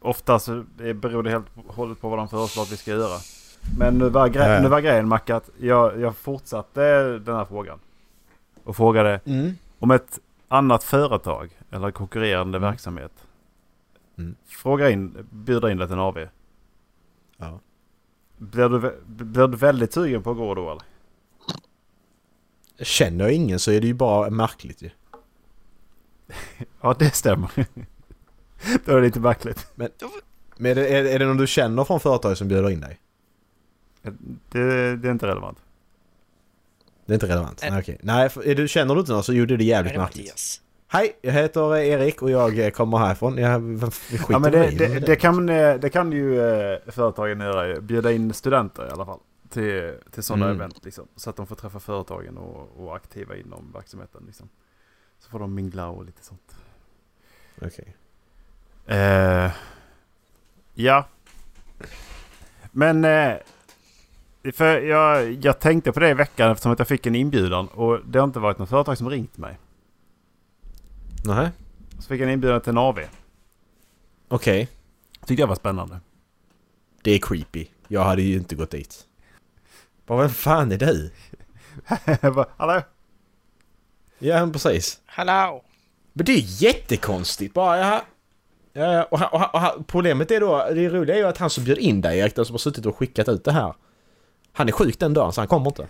Speaker 2: Ofta så är- beror det helt och hållet på vad de föreslår att vi ska göra. Men nu var,
Speaker 1: Ja, ja.
Speaker 2: gre- nu var grejen Macke att jag, jag fortsatte den här frågan. Och frågade
Speaker 1: Mm.
Speaker 2: om ett annat företag eller konkurrerande verksamhet.
Speaker 1: Mm.
Speaker 2: Fråga in, bjuda in dig till en AV.
Speaker 1: Ja.
Speaker 2: Blir du, vä- blir du väldigt sugen på att gå då eller?
Speaker 1: Känner jag ingen så är det ju bara märkligt ju.
Speaker 2: Ja det stämmer. då är det lite märkligt.
Speaker 1: Men är det, är, är det någon du känner från företaget som bjuder in dig?
Speaker 2: Det, det är inte relevant.
Speaker 1: Det är inte relevant?
Speaker 3: Nej.
Speaker 1: Nej, okej. Nej, för, är du, känner du inte någon så gjorde det
Speaker 3: Är
Speaker 1: jävligt
Speaker 3: det
Speaker 1: märkligt.
Speaker 3: Mattias?
Speaker 1: Hej, jag heter eh, Erik och jag eh, kommer härifrån. Jag, vem- vi skiter
Speaker 2: Ja, men
Speaker 1: i
Speaker 2: det,
Speaker 1: mig.
Speaker 2: det, det, kan, eh, det kan ju eh, företagen göra. ju. Bjuda in studenter i alla fall. Till, till sådana
Speaker 1: Mm.
Speaker 2: event. Liksom, så att de får träffa företagen och, och aktiva inom verksamheten. Liksom. Så får de mingla och lite sånt.
Speaker 1: Okej.
Speaker 2: Eh, ja. Men eh, för jag, jag tänkte på det i veckan eftersom att jag fick en inbjudan. Och det har inte varit något företag som ringt mig.
Speaker 1: Nähä.
Speaker 2: Så fick jag en inbjudan till en AV.
Speaker 1: Okej.
Speaker 2: Tyckte jag var spännande.
Speaker 1: Det är creepy. Jag hade ju inte gått dit. Bara, vem fan är du?
Speaker 2: Jag bara, Hallå?
Speaker 1: Ja, men precis.
Speaker 3: Hallå!
Speaker 1: Men det är ju jättekonstigt bara. Ja, ja, ja, och, han- och, han- och, han- problemet är då, det roliga är ju att han som bjöd in dig Erik, den som har suttit och skickat ut det här. Han är sjuk den dagen så han kommer inte.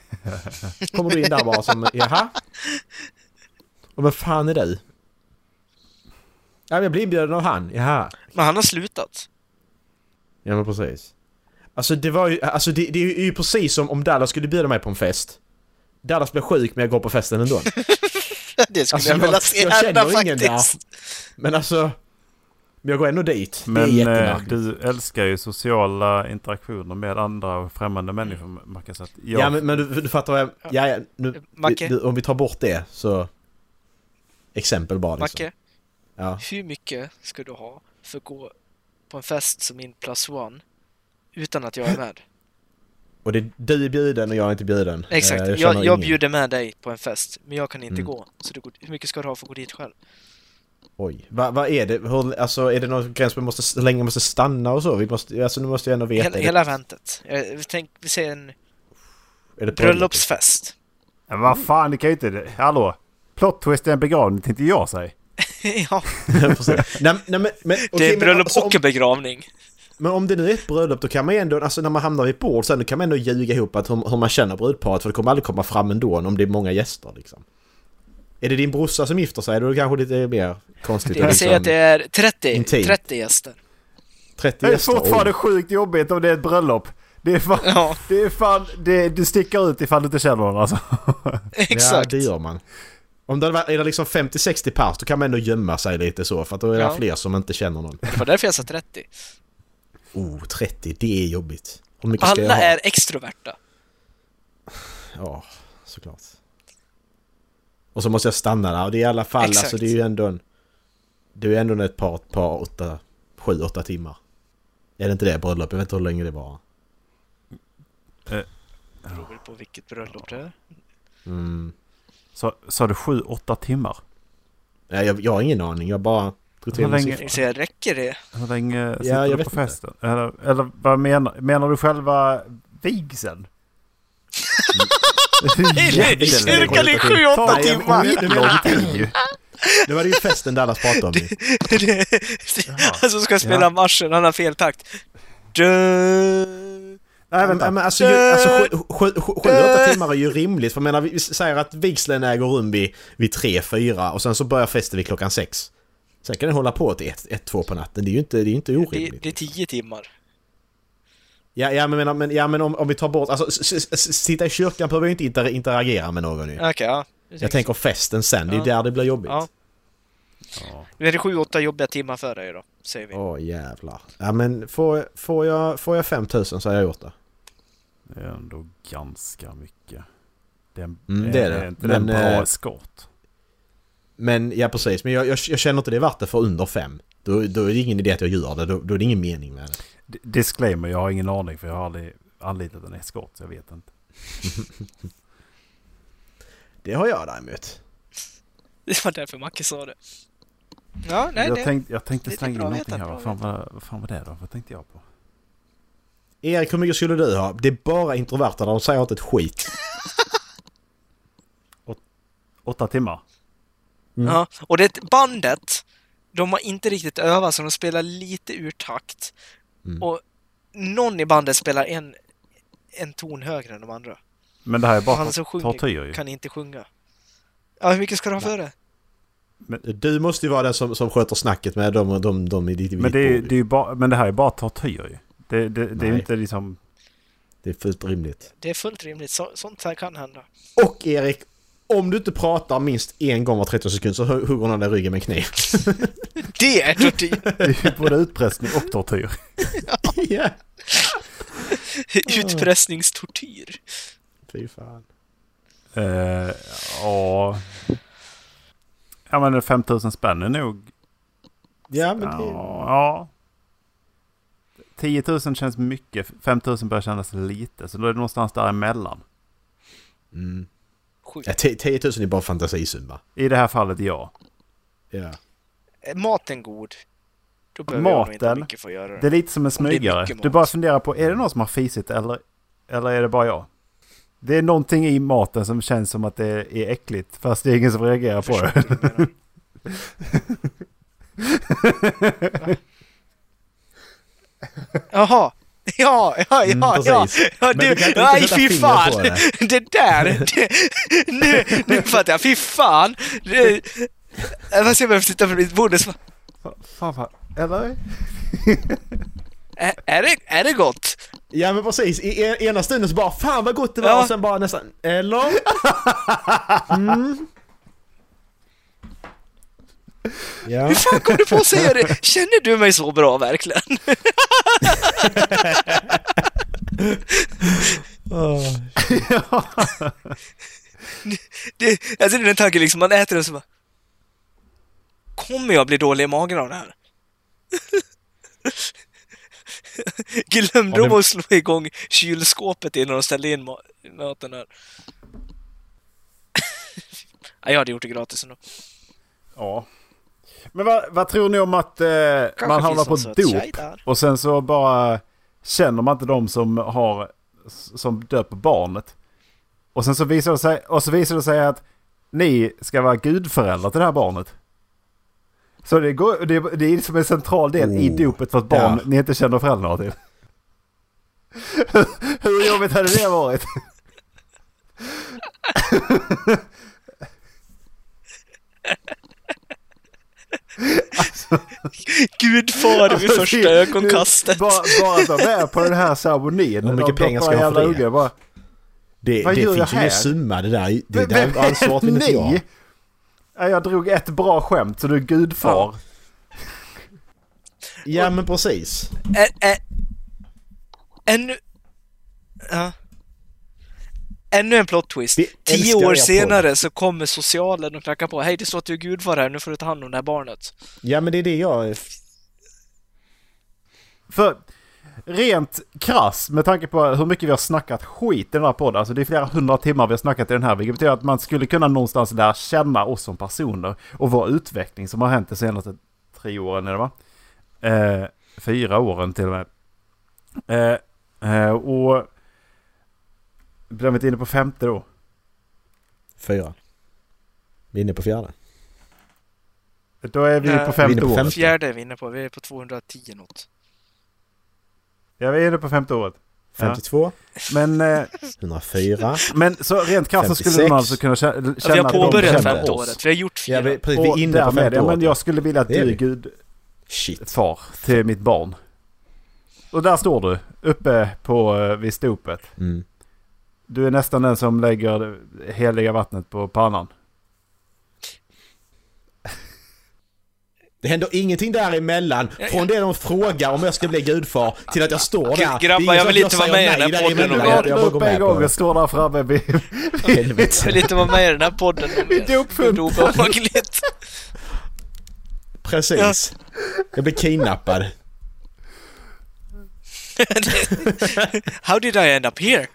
Speaker 1: Kommer du in där bara som, jaha? Och vem fan är du? Ja, men jag blir inbjuden av han, jaha.
Speaker 3: Men han har slutat.
Speaker 1: Ja men precis. Alltså det var ju, alltså det, det är ju precis som om Dallas skulle bjuda mig på en fest. Dallas blir sjuk men jag går på festen ändå.
Speaker 3: Det skulle
Speaker 1: Alltså,
Speaker 3: jag vilja
Speaker 1: jag-
Speaker 3: se
Speaker 1: jag
Speaker 3: hända
Speaker 1: känner ingen där.
Speaker 3: faktiskt.
Speaker 1: Men alltså, men jag går ändå dit. det är
Speaker 2: Men eh,
Speaker 1: jättemärkligt.
Speaker 2: du älskar ju sociala interaktioner med andra och främmande människor. Man kan säga att jag,
Speaker 1: Ja men, men du, du fattar vad jag... Ja, ja, nu,
Speaker 3: Macke?
Speaker 1: du, om vi tar bort det så... Exempel bara liksom.
Speaker 3: Macke,
Speaker 1: Ja.
Speaker 3: hur mycket ska du ha för att gå på en fest som min plus one utan att jag är med?
Speaker 1: Och det, du är bjuden och jag är inte bjuden.
Speaker 3: Exakt,
Speaker 1: Eh,
Speaker 3: jag,
Speaker 1: känner
Speaker 3: jag,
Speaker 1: ingen.
Speaker 3: bjuder med dig på en fest, men jag kan inte
Speaker 1: Mm.
Speaker 3: gå. Så det går, hur mycket ska du ha för att gå dit själv?
Speaker 1: Oj. Va- Vad är det? Hur, alltså är det någon gräns vi måste, hur länge vi måste stanna och så? Vi måste, alltså nu måste jag ändå veta.
Speaker 3: Hela,
Speaker 1: är det-
Speaker 3: hela eventet. Eh, vi tänk, vi säger en
Speaker 1: är det bröllop?
Speaker 3: bröllopsfest.
Speaker 2: Men vad fan, det kan ju inte... Hallå? Plot twist är en begravning, tänkte jag säga.
Speaker 3: ja,
Speaker 1: Precis. nej, nej, men, men,
Speaker 3: det
Speaker 1: okej,
Speaker 3: är
Speaker 1: men
Speaker 3: bröllop
Speaker 1: alltså, om-
Speaker 3: och en begravning.
Speaker 1: Men om det nu är ett bröllop då kan man ju ändå, alltså när man hamnar vid ett bord sen, då kan man ändå ljuga ihop att hur, hur man känner brudparet för det kommer aldrig komma fram ändå om det är många gäster liksom. Är det din brorsa som gifter sig då är det kanske lite mer konstigt.
Speaker 3: Det, vi
Speaker 1: liksom,
Speaker 3: säger att det är 30,
Speaker 1: intimt.
Speaker 3: 30 gäster.
Speaker 1: 30
Speaker 2: Det är
Speaker 1: gäster.
Speaker 2: fortfarande
Speaker 1: oj.
Speaker 2: sjukt jobbigt om det är ett bröllop. Det är fan...
Speaker 3: Ja,
Speaker 2: Det är fan det, du sticker ut ifall du inte känner någon alltså.
Speaker 3: exakt.
Speaker 1: Ja, det gör man. Om det hade varit- är det liksom 50-60 pers då kan man ändå gömma sig lite så för att då är det
Speaker 3: Ja.
Speaker 1: fler som inte känner någon.
Speaker 3: Det var därför jag sa 30.
Speaker 1: Oh, 30, det är jobbigt. Hur mycket ska jag
Speaker 3: Alla
Speaker 1: ha?
Speaker 3: är extroverta.
Speaker 1: Ja, såklart. Och så måste jag stanna där. Och det är i alla fall,
Speaker 3: Exakt.
Speaker 1: alltså det är ju ändå en... Det är ju ändå ett par, par åtta, sju, åtta timmar. Är det inte det bröllop? Jag vet inte hur länge det var.
Speaker 3: Det beror väl på vilket bröllop det är.
Speaker 1: Mm.
Speaker 2: Så, sa du 7-8 timmar?
Speaker 1: Ja, Jag, jag har ingen aning, jag bara drog till
Speaker 2: Hur
Speaker 1: en
Speaker 2: länge-
Speaker 1: siffra.
Speaker 3: Jag säga, räcker det?
Speaker 2: Hur länge sitter
Speaker 1: jag
Speaker 2: du
Speaker 1: vet
Speaker 2: på
Speaker 1: inte.
Speaker 2: festen? Eller, eller vad menar, menar du själva vigseln?
Speaker 1: i kyrkan i sju,
Speaker 3: åtta
Speaker 2: skitlång tid ju.
Speaker 1: Det var ju festen där alla pratade om ju.
Speaker 3: Det- Han som ska spela
Speaker 2: Ja.
Speaker 3: marschen, han har fel takt. Du...
Speaker 1: Nej, men, men alltså, ju, alltså sju, sju, sju, sju, åtta timmar är ju rimligt. För jag menar, vi säger att vigseln äger rum vid, vid tre, fyra och sen så börjar festen vid klockan sex. Sen kan den hålla på till ett, ett två på natten. Det är ju inte, det är ju inte
Speaker 3: Det,
Speaker 1: orimligt.
Speaker 3: det är tio timmar.
Speaker 1: Ja, ja, men, men, men, ja, men om, om vi tar bort... Alltså, s- s- s- sitta i kyrkan behöver ju inte inter, interagera med någon ju.
Speaker 3: Okej, ja.
Speaker 1: Jag tänker festen sen, det är ju där det blir jobbigt.
Speaker 3: Ja.
Speaker 1: Åh
Speaker 3: Nu är det sju, åtta jobbiga timmar för dig då, säger vi.
Speaker 1: jävlar. Ja men får, får, jag, får jag 5000 så har jag gjort det.
Speaker 2: Det är ändå ganska mycket. Det är, en-
Speaker 1: Mm, det är det.
Speaker 2: inte det en
Speaker 1: Men,
Speaker 2: bra
Speaker 1: eh,
Speaker 2: eskort?
Speaker 1: Men ja precis, men jag, jag, jag känner inte det är värt det för under fem. Då, då är det ingen idé att jag gör det, då, då är det ingen mening med det.
Speaker 2: D- Disclaimer, jag har ingen aning för jag har aldrig anlitat en eskort. så Jag vet inte.
Speaker 1: Det har jag däremot.
Speaker 3: Det var därför Macke sa det. Ja, nej,
Speaker 2: jag,
Speaker 3: det...
Speaker 2: tänkte, jag tänkte
Speaker 3: det är
Speaker 2: slänga in
Speaker 3: bra
Speaker 2: någonting
Speaker 3: vetat,
Speaker 2: här.
Speaker 3: bra
Speaker 2: Vad fan, var, vad fan var det då? Vad tänkte jag på?
Speaker 1: Erik, hur mycket skulle du ha? Det är bara introverta, de säger inte ett skit.
Speaker 2: Åtta timmar?
Speaker 1: Mm.
Speaker 3: Ja, och det bandet, de har inte riktigt övat så de spelar lite ur takt.
Speaker 1: Mm.
Speaker 3: Och någon i bandet spelar en, en ton högre än de andra.
Speaker 2: Men det här är bara
Speaker 3: Han
Speaker 2: för
Speaker 3: som sjunger
Speaker 2: tortyr ju.
Speaker 3: Kan inte sjunga. Ja, hur mycket ska du ha för det?
Speaker 1: Du måste ju vara den som, som sköter snacket med dem och de, de i ditt
Speaker 2: Men det, är, ju-
Speaker 1: ditt
Speaker 2: det är ju bara, men det här är bara tortyr ju. Det, det, det är ju
Speaker 1: Nej.
Speaker 2: inte liksom...
Speaker 1: det är fullt rimligt.
Speaker 3: Det är fullt rimligt. Så, sånt här kan hända.
Speaker 1: Och Erik, om du inte pratar minst en gång var 30 sekunder så hu- hugger någon dig i ryggen med en kniv.
Speaker 3: Det är tortyr!
Speaker 2: Det är ju både utpressning och tortyr.
Speaker 1: Ja.
Speaker 3: Utpressningstortyr.
Speaker 1: Fy fan.
Speaker 2: Eh, Ja... Ja men 5000 spänn är nog...
Speaker 1: Ja men
Speaker 2: Ja.
Speaker 1: det...
Speaker 2: ja. 10 000 känns mycket. 5 000 börjar kännas lite. Så då är det någonstans däremellan.
Speaker 1: Mm.
Speaker 3: Sjukt.
Speaker 1: Ja, 10 000 är bara fantasisumma.
Speaker 2: I det här fallet ja.
Speaker 1: Ja.
Speaker 3: Är maten god? Då behöver jag nog inte
Speaker 2: Maten?
Speaker 3: mycket för att göra det.
Speaker 2: Det är lite som en
Speaker 3: är mycket
Speaker 2: smygare.
Speaker 3: mat.
Speaker 2: Du bara funderar på, är det någon som har fisit eller, eller är det bara jag? Det är någonting i maten som känns som att det är äckligt fast det är ingen som reagerar på det.
Speaker 3: Förstår du vad jag menar? Va? Jaha! Ja, ja,
Speaker 1: Mm,
Speaker 3: ja, ja!
Speaker 1: precis.
Speaker 3: ja
Speaker 1: Men
Speaker 3: du,
Speaker 1: du kan inte
Speaker 3: nej
Speaker 1: riktigt sätta
Speaker 3: fy
Speaker 1: fingret
Speaker 3: fan!
Speaker 1: på
Speaker 3: Det. där! Det, nu, nu fattar jag, fy fan! Det, jag var så jag behövde titta på mitt bord och så,
Speaker 2: Fan, fan. Eller?
Speaker 3: är, är, det, är det gott?
Speaker 1: Ja men precis, i en- ena stunden så bara fan vad gott det var
Speaker 3: Ja.
Speaker 1: och sen bara nästan eller? Mm. Ja.
Speaker 3: Hur fan kom du på att säga det? Känner du mig så bra verkligen?
Speaker 2: ja.
Speaker 3: Det, alltså det är den tanken liksom, man äter och så bara... Kommer jag bli dålig i magen av det här? Glömde
Speaker 1: Ja, det-
Speaker 3: de att slå igång kylskåpet innan de ställde in ma- maten här? ja, jag hade gjort det gratis ändå.
Speaker 2: ja. Men vad, vad tror ni om att eh, man hamnar
Speaker 3: finns
Speaker 2: på
Speaker 3: någon söt tjej
Speaker 2: dop
Speaker 3: där.
Speaker 2: och sen så bara känner man inte de som har som döper barnet. Och sen så visar det sig, och så visar det sig att ni ska vara gudföräldrar till det här barnet. Så det, går, det, det är liksom en central del i
Speaker 1: Oh,
Speaker 2: dopet för ett barn
Speaker 1: ja.
Speaker 2: ni inte känner föräldrarna till. Hur jobbigt hade det varit?
Speaker 3: Gudfar vid
Speaker 2: Alltså,
Speaker 3: första
Speaker 2: det-
Speaker 3: ögonkastet.
Speaker 2: Bara, bara att de är på den här ceremonin.
Speaker 1: Hur mycket
Speaker 2: de
Speaker 1: pengar ska
Speaker 2: plockar
Speaker 1: jag ha för
Speaker 2: jävla
Speaker 1: det?
Speaker 2: ungar Bara,
Speaker 1: Det,
Speaker 2: Vad
Speaker 1: det
Speaker 2: gör jag
Speaker 1: finns ju ingen
Speaker 2: här?
Speaker 1: summa det där. Det
Speaker 2: "Vem-
Speaker 1: där
Speaker 2: vem är
Speaker 1: ansvaret vill inte
Speaker 2: ni?"
Speaker 1: jag.
Speaker 2: Ja, jag drog ett bra skämt så du är gudfar.
Speaker 1: Ja men precis.
Speaker 3: Ä- ä- Ännu... Ja. Ännu en plot twist.
Speaker 1: Vi
Speaker 3: Tio
Speaker 1: älskar
Speaker 3: år
Speaker 1: er
Speaker 3: senare så kommer socialen och knackar på. Hej, det står att du är gudfar här. Nu får du ta hand om det här barnet.
Speaker 1: Ja men det är det jag...
Speaker 2: För rent krass med tanke på hur mycket vi har snackat skit i den här podden. Alltså det är flera hundra timmar vi har snackat i den här. Vilket betyder att man skulle kunna någonstans lära känna oss som personer. Och vår utveckling som har hänt de senaste tre åren är det va? Eh, fyra åren till och med. Eh, eh, och... Blev vi inte inne på femte då?
Speaker 1: Fyra. Vi är inne på fjärde.
Speaker 2: Då är vi
Speaker 3: Nej.
Speaker 2: på
Speaker 3: Vi
Speaker 1: Eh, är
Speaker 2: femte
Speaker 1: inne på
Speaker 2: året.
Speaker 1: femte.
Speaker 3: Fjärde är vi inne på. Vi är på 210 något.
Speaker 2: Ja, vi är inne på femte året.
Speaker 1: 52.
Speaker 2: Men, eh,
Speaker 1: 104.
Speaker 2: men så rent krasst så skulle
Speaker 1: 56.
Speaker 2: man alltså kunna kä-
Speaker 3: Ja,
Speaker 2: känna...
Speaker 3: vi har
Speaker 2: att de
Speaker 3: påbörjat
Speaker 2: känner
Speaker 3: femte
Speaker 1: oss.
Speaker 3: året. Vi har gjort fyra.
Speaker 1: Ja, vi, precis, vi
Speaker 2: Och
Speaker 1: är inne på
Speaker 2: därmed,
Speaker 1: femte
Speaker 2: ja, men
Speaker 1: året.
Speaker 2: jag skulle vilja att
Speaker 1: Det är
Speaker 2: du
Speaker 1: vi.
Speaker 2: är gudfar
Speaker 1: Shit.
Speaker 2: till mitt barn. Och där står du, uppe på, eh, vid stopet.
Speaker 1: Mm.
Speaker 2: Du är nästan den som lägger det heliga vattnet på pannan.
Speaker 1: Det händer ingenting däremellan. Från det de frågar om jag ska bli gudfar till att jag står
Speaker 3: Okej,
Speaker 1: där.
Speaker 3: grabbar,
Speaker 1: Det är
Speaker 3: jag vill
Speaker 1: inget
Speaker 3: inte
Speaker 1: att
Speaker 3: vara
Speaker 1: säger
Speaker 3: med i
Speaker 1: nej
Speaker 3: den här
Speaker 1: däremellan. Jag,
Speaker 2: Jag
Speaker 3: podden om
Speaker 1: jag bara
Speaker 2: upp
Speaker 1: går
Speaker 2: en
Speaker 1: med
Speaker 2: gång
Speaker 1: på
Speaker 2: och
Speaker 1: det.
Speaker 2: står där framme vid...
Speaker 1: Helvete.
Speaker 3: Jag vill inte vara med i den här podden om
Speaker 2: Mitt i uppfundet.
Speaker 3: obehagligt.
Speaker 1: Precis. Jag blir kidnappad.
Speaker 3: How did I end up here?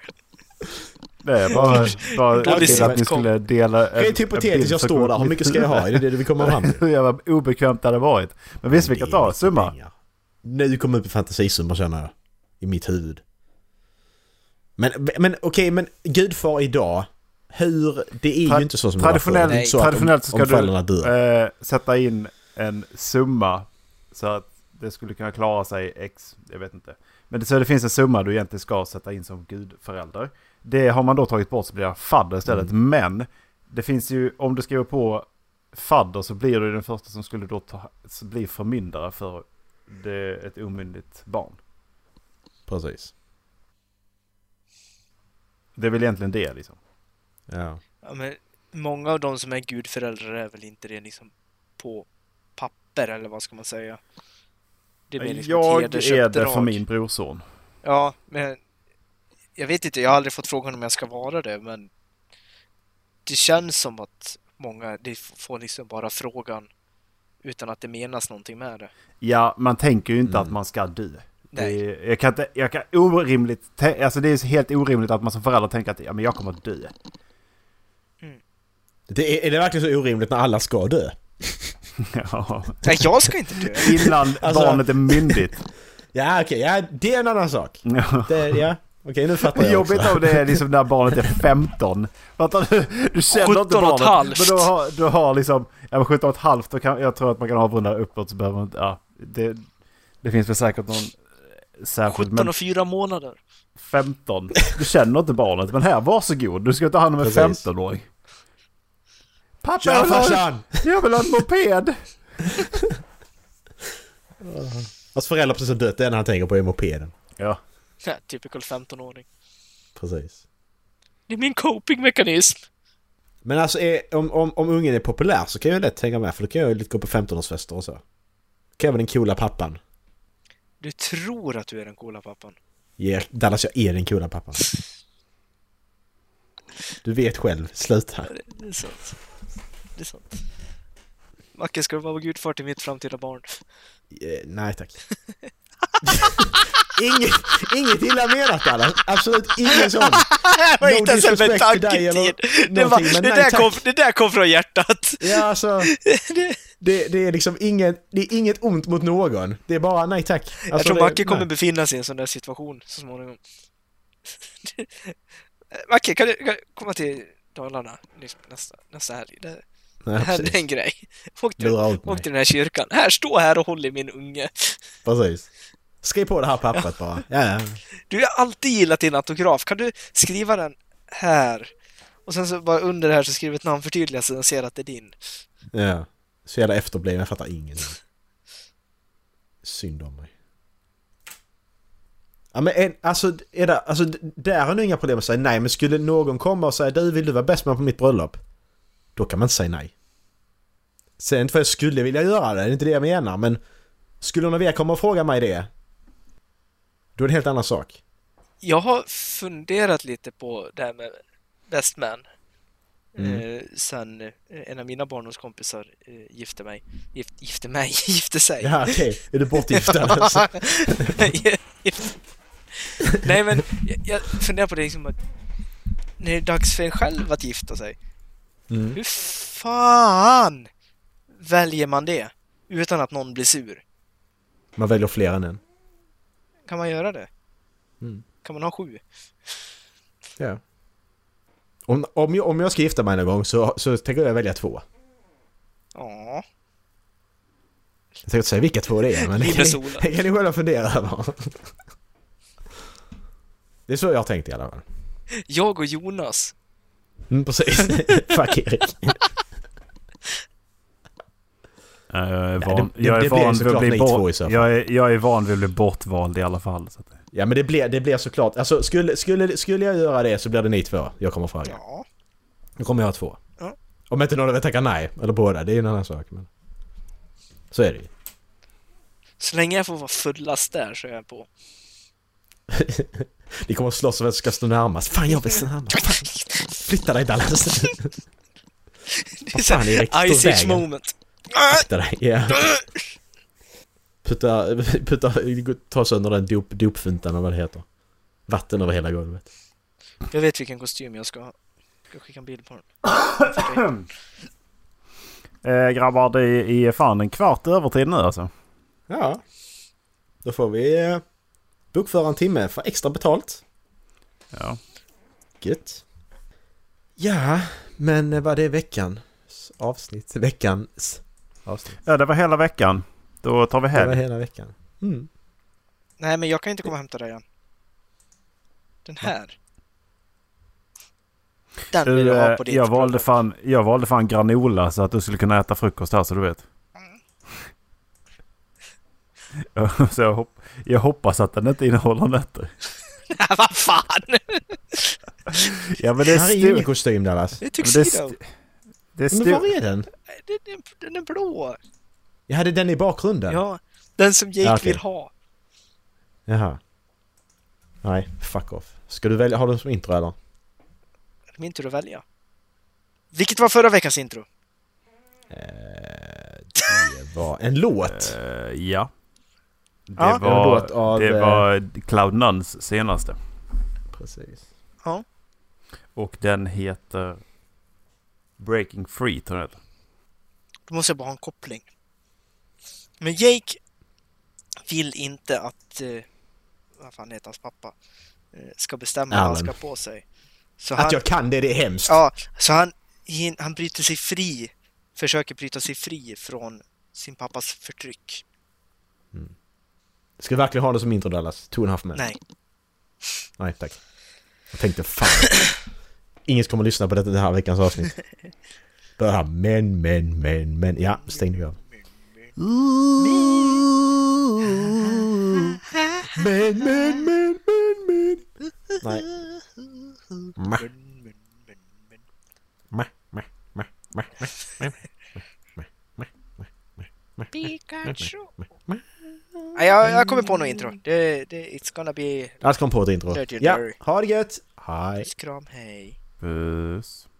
Speaker 2: Nej, bara, bara
Speaker 3: Både
Speaker 2: till att ni
Speaker 3: sitcom.
Speaker 2: skulle dela... en-
Speaker 1: Rent
Speaker 2: en bild
Speaker 1: hypotetiskt, jag
Speaker 2: så
Speaker 1: står
Speaker 2: kommer-
Speaker 1: där. Hur mycket ska jag ha? Är det det vi kommer fram till?
Speaker 2: Hur jävla obekvämt det hade varit. Men visst vi kan
Speaker 1: Det är
Speaker 2: ta
Speaker 1: mycket
Speaker 2: summa?
Speaker 1: pengar. Nu kommer upp i fantasisummor känner jag. I mitt huvud. Men, men okej, men gudfar idag. Hur, det är
Speaker 2: Tra-
Speaker 1: ju inte så som
Speaker 2: traditionellt-
Speaker 1: det var förr. Det är inte så
Speaker 2: traditionellt
Speaker 1: att
Speaker 2: så
Speaker 1: om,
Speaker 2: ska
Speaker 1: om
Speaker 2: du-
Speaker 1: föräldrarna dör.
Speaker 2: eh, sätta in en summa så att det skulle kunna klara sig x, jag vet inte. Men det, så det finns en summa du egentligen ska sätta in som gudförälder. Det har man då tagit bort så blir det fadder istället.
Speaker 1: Mm.
Speaker 2: Men det finns ju, om du skriver på fadder så blir du den första som skulle då ta, så bli förmyndare för det, ett omyndigt barn.
Speaker 1: Precis.
Speaker 2: Det är väl egentligen det liksom.
Speaker 1: Ja.
Speaker 3: Ja, men många av de som är gudföräldrar är väl inte det liksom på papper eller vad ska man säga? Det blir liksom ett
Speaker 2: jag är det
Speaker 3: hedersuppdrag.
Speaker 2: för min brorson.
Speaker 3: Ja, men jag vet inte, jag har aldrig fått frågan om jag ska vara det, men det känns som att många de f- får liksom bara frågan utan att det menas någonting med det.
Speaker 2: Ja, man tänker ju inte
Speaker 1: Mm.
Speaker 2: att man ska dö.
Speaker 3: Nej.
Speaker 2: Det, jag kan inte, jag kan orimligt, tä- alltså det är så helt orimligt att man som förälder tänker att ja, men jag kommer att dö.
Speaker 1: Det är, är det verkligen så orimligt när alla ska dö?
Speaker 2: Ja.
Speaker 3: Nej, jag ska inte dö!
Speaker 2: Innan
Speaker 1: Alltså-
Speaker 2: barnet är myndigt.
Speaker 1: Ja, okej, ja, det är en annan sak.
Speaker 2: Ja.
Speaker 1: Det, ja, okej, nu fattar
Speaker 2: Det är
Speaker 1: jag också.
Speaker 2: jobbigt om det är liksom när barnet är 15. Fattar du? Du känner inte
Speaker 3: 17 och ett
Speaker 2: barnet.
Speaker 3: halvt.
Speaker 2: Men du har, du har liksom, ja men 17 och ett halvt, då kan, jag tror att man kan avrunda uppåt så behöver man inte, ja. Det, det finns väl säkert någon särskild,
Speaker 3: 17
Speaker 2: men
Speaker 3: och 4 månader.
Speaker 2: 15. Du känner inte barnet, men här, varsågod. Du ska ta hand om en
Speaker 1: Precis.
Speaker 2: 15-åring. Pappa, jag
Speaker 1: Tja
Speaker 2: vill ha-
Speaker 1: farsan!
Speaker 2: jag vill ha en moped!
Speaker 1: Hans föräldrar precis har dött, det enda han tänker på är mopeden.
Speaker 2: Ja.
Speaker 3: Ja, typical 15-åring.
Speaker 1: Precis.
Speaker 3: Det är min copingmekanism!
Speaker 1: Men alltså är, om, om, om ungen är populär så kan jag lätt hänga med för då kan jag ju lite gå på 15-årsfester och så. Kan jag vara den coola pappan.
Speaker 3: Du tror att du är den coola pappan.
Speaker 1: Yeah, Dallas, jag är den coola pappan. Du vet själv, sluta.
Speaker 3: Det är sant. Det är sant. Macke, ska du vara gudfar till mitt framtida barn?
Speaker 1: Eh, nej tack. inget, inget illa menat Dallas, absolut ingen sån.
Speaker 3: Det var
Speaker 1: No
Speaker 3: inte ens en
Speaker 1: disrespect till dig eller
Speaker 3: tanke till. Det,
Speaker 1: någonting,
Speaker 3: var, det,
Speaker 1: men nej,
Speaker 3: där
Speaker 1: tack.
Speaker 3: kom, det där kom från hjärtat.
Speaker 1: Ja alltså, det, det är liksom inget, det är inget ont mot någon. Det är bara nej tack. Alltså,
Speaker 3: jag tror
Speaker 1: det,
Speaker 3: Macke kommer
Speaker 1: nej.
Speaker 3: befinna sig i en sån där situation så småningom. Macke, kan du, kan du komma till Dalarna liksom nästa, nästa helg? Det, det
Speaker 1: Nej,
Speaker 3: här
Speaker 1: precis.
Speaker 3: är en grej. Åk till,
Speaker 1: Lura ut mig.
Speaker 3: åk till den här kyrkan. Här, stå här och håll i min unge.
Speaker 1: Precis. Skriv på det här pappret bara. Ja, ja.
Speaker 3: Du jag har alltid gillat din autograf. Kan du skriva den här? Och sen så bara under det här så skriver ett namn förtydligas så den ser att det är din.
Speaker 1: ja. Så jävla efterbliven, jag fattar ingenting. Synd om mig. Ja men en, alltså, är det, alltså d- där har ni inga problem att säga nej men skulle någon komma och säga du vill du vara bäst man på mitt bröllop? Då kan man inte säga nej. Sen för jag skulle vilja göra det, det är inte det jag menar men skulle någon av er komma och fråga mig det? Då är det en helt annan sak.
Speaker 3: Jag har funderat lite på det här med best man.
Speaker 1: Mm.
Speaker 3: Eh, sen eh, en av mina barndomskompisar eh, gifte mig. Gift, gifte mig? Gifte sig?
Speaker 1: Ja okej, är du bortgift eller? Så-
Speaker 3: Gift- Nej men jag, jag funderar på det liksom att när det är dags för en själv att gifta sig.
Speaker 1: Mm.
Speaker 3: Hur fan väljer man det utan att någon blir sur?
Speaker 1: Man väljer fler än en.
Speaker 3: Kan man göra det?
Speaker 1: Mm.
Speaker 3: Kan man ha sju?
Speaker 1: Ja. Om, om, jag, om jag ska gifta mig någon gång så, så tänker jag välja två.
Speaker 3: Ja.
Speaker 1: Jag tänker inte säga vilka två det är men det kan
Speaker 3: Linus
Speaker 1: ni,
Speaker 3: Ola.
Speaker 1: det kan ni själva fundera över. Det är så jag har tänkt i alla fall.
Speaker 3: Jag och Jonas.
Speaker 1: Mm, precis. Fuck Erik.
Speaker 2: Nej, Jag är
Speaker 1: det-
Speaker 2: van,
Speaker 1: det-
Speaker 2: jag
Speaker 1: det
Speaker 2: är
Speaker 1: blir
Speaker 2: van vid
Speaker 1: såklart
Speaker 2: att bli
Speaker 1: ni två i
Speaker 2: bort.
Speaker 1: så fall.
Speaker 2: Jag är, jag är van vid att bli bortvald i alla fall. Så att,
Speaker 1: Ja men det blir, det blir såklart, alltså skulle, skulle, skulle jag göra det så blir det ni två jag kommer fråga.
Speaker 3: Ja.
Speaker 1: Då kommer jag ha två.
Speaker 3: Ja.
Speaker 1: Om inte någon av er tackar nej, eller båda, det är ju en annan sak. Men... Så är det ju.
Speaker 3: Så länge jag får vara fullast där så är jag på.
Speaker 1: Ni kommer att slåss om vem som ska stå närmast. Fan jag vill stå närmast. Fan. Flytta dig Dallas. Vad fan, Erik, stå i
Speaker 3: Ice Age
Speaker 1: vägen.
Speaker 3: moment.
Speaker 1: Akta dig. Ja. Putta, putta, ta sönder den dop, dopfuntan eller vad det heter. Vatten över hela golvet.
Speaker 3: Jag vet vilken kostym jag ska ha. Jag ska skicka en bild på den.
Speaker 2: eh, grabbar, det är- är fan en kvart övertid nu alltså.
Speaker 1: Ja. Då får vi eh, bokföra en timme för extra betalt.
Speaker 2: Ja.
Speaker 1: Gött. Ja, men eh, vad det är veckans avsnitt. Veckans avsnitt.
Speaker 2: ja, det var hela veckan. Då tar vi
Speaker 1: Det var
Speaker 2: helg.
Speaker 1: hela veckan. Mm.
Speaker 3: Nej, men jag kan inte komma och hämta dig än. Den här. Den vill jag ha
Speaker 2: Du, eh,
Speaker 3: på ditt
Speaker 2: jag, valde
Speaker 3: bröllop.
Speaker 2: fan, jag valde fan granola så att du skulle kunna äta frukost här så du vet.
Speaker 3: Mm.
Speaker 2: så jag, hopp, jag hoppas att den inte innehåller nötter.
Speaker 3: Nej, vad fan!
Speaker 2: Ja men det är,
Speaker 1: här är ju ingen
Speaker 2: stu-
Speaker 1: kostym Dallas.
Speaker 3: Det är
Speaker 2: men det är,
Speaker 3: tuxedo.
Speaker 2: stu- det är
Speaker 1: Men var
Speaker 2: stu-
Speaker 1: är den?
Speaker 3: Nej, Den, den, den är blå.
Speaker 1: Jag hade den i bakgrunden.
Speaker 3: Ja, den som Jake
Speaker 1: Ja, okej.
Speaker 3: vill ha.
Speaker 1: Jaha. Nej, fuck off. Ska du välja, har du den som intro eller?
Speaker 3: Det är Min tur att välja. Vilket var förra veckans intro?
Speaker 1: Det var en låt.
Speaker 2: Eh, Ja. Det,
Speaker 3: Ja.
Speaker 1: En
Speaker 2: var,
Speaker 1: låt av,
Speaker 2: det
Speaker 1: eh,
Speaker 2: var Cloud Nuns senaste.
Speaker 1: Precis.
Speaker 2: Och den heter Breaking Free tror jag den heter.
Speaker 3: Då måste jag bara ha en koppling. Men Jake vill inte att, eh, vad fan heter hans pappa, eh, ska bestämma vad han
Speaker 1: Alan.
Speaker 3: ska på sig. Så han,
Speaker 1: Att jag kan det, det är hemskt.
Speaker 3: ja, så han, hin- han bryter sig fri, försöker bryta sig fri från sin pappas förtryck.
Speaker 1: Ska du verkligen ha det som intro Dallas? Two and a half men.
Speaker 3: Nej,
Speaker 1: Nej, tack. Jag tänkte fan. Ingen kommer lyssna på detta det här veckans avsnitt. Bara här, men, men, men, men. Ja, stäng dig av. Men, men, men, men, men. Nej. Ma, ma, ma, ma, ma, ma, ma, ma, ma, ma, ma, ma.
Speaker 4: Pikachu.
Speaker 3: Nej, jag, jag kommer på något intro. Det, det, it's gonna be
Speaker 1: Dallas kom på ett intro.
Speaker 3: Legendary.
Speaker 1: Ja, ha det gött! Hej!
Speaker 3: kram, hej.
Speaker 2: Puss.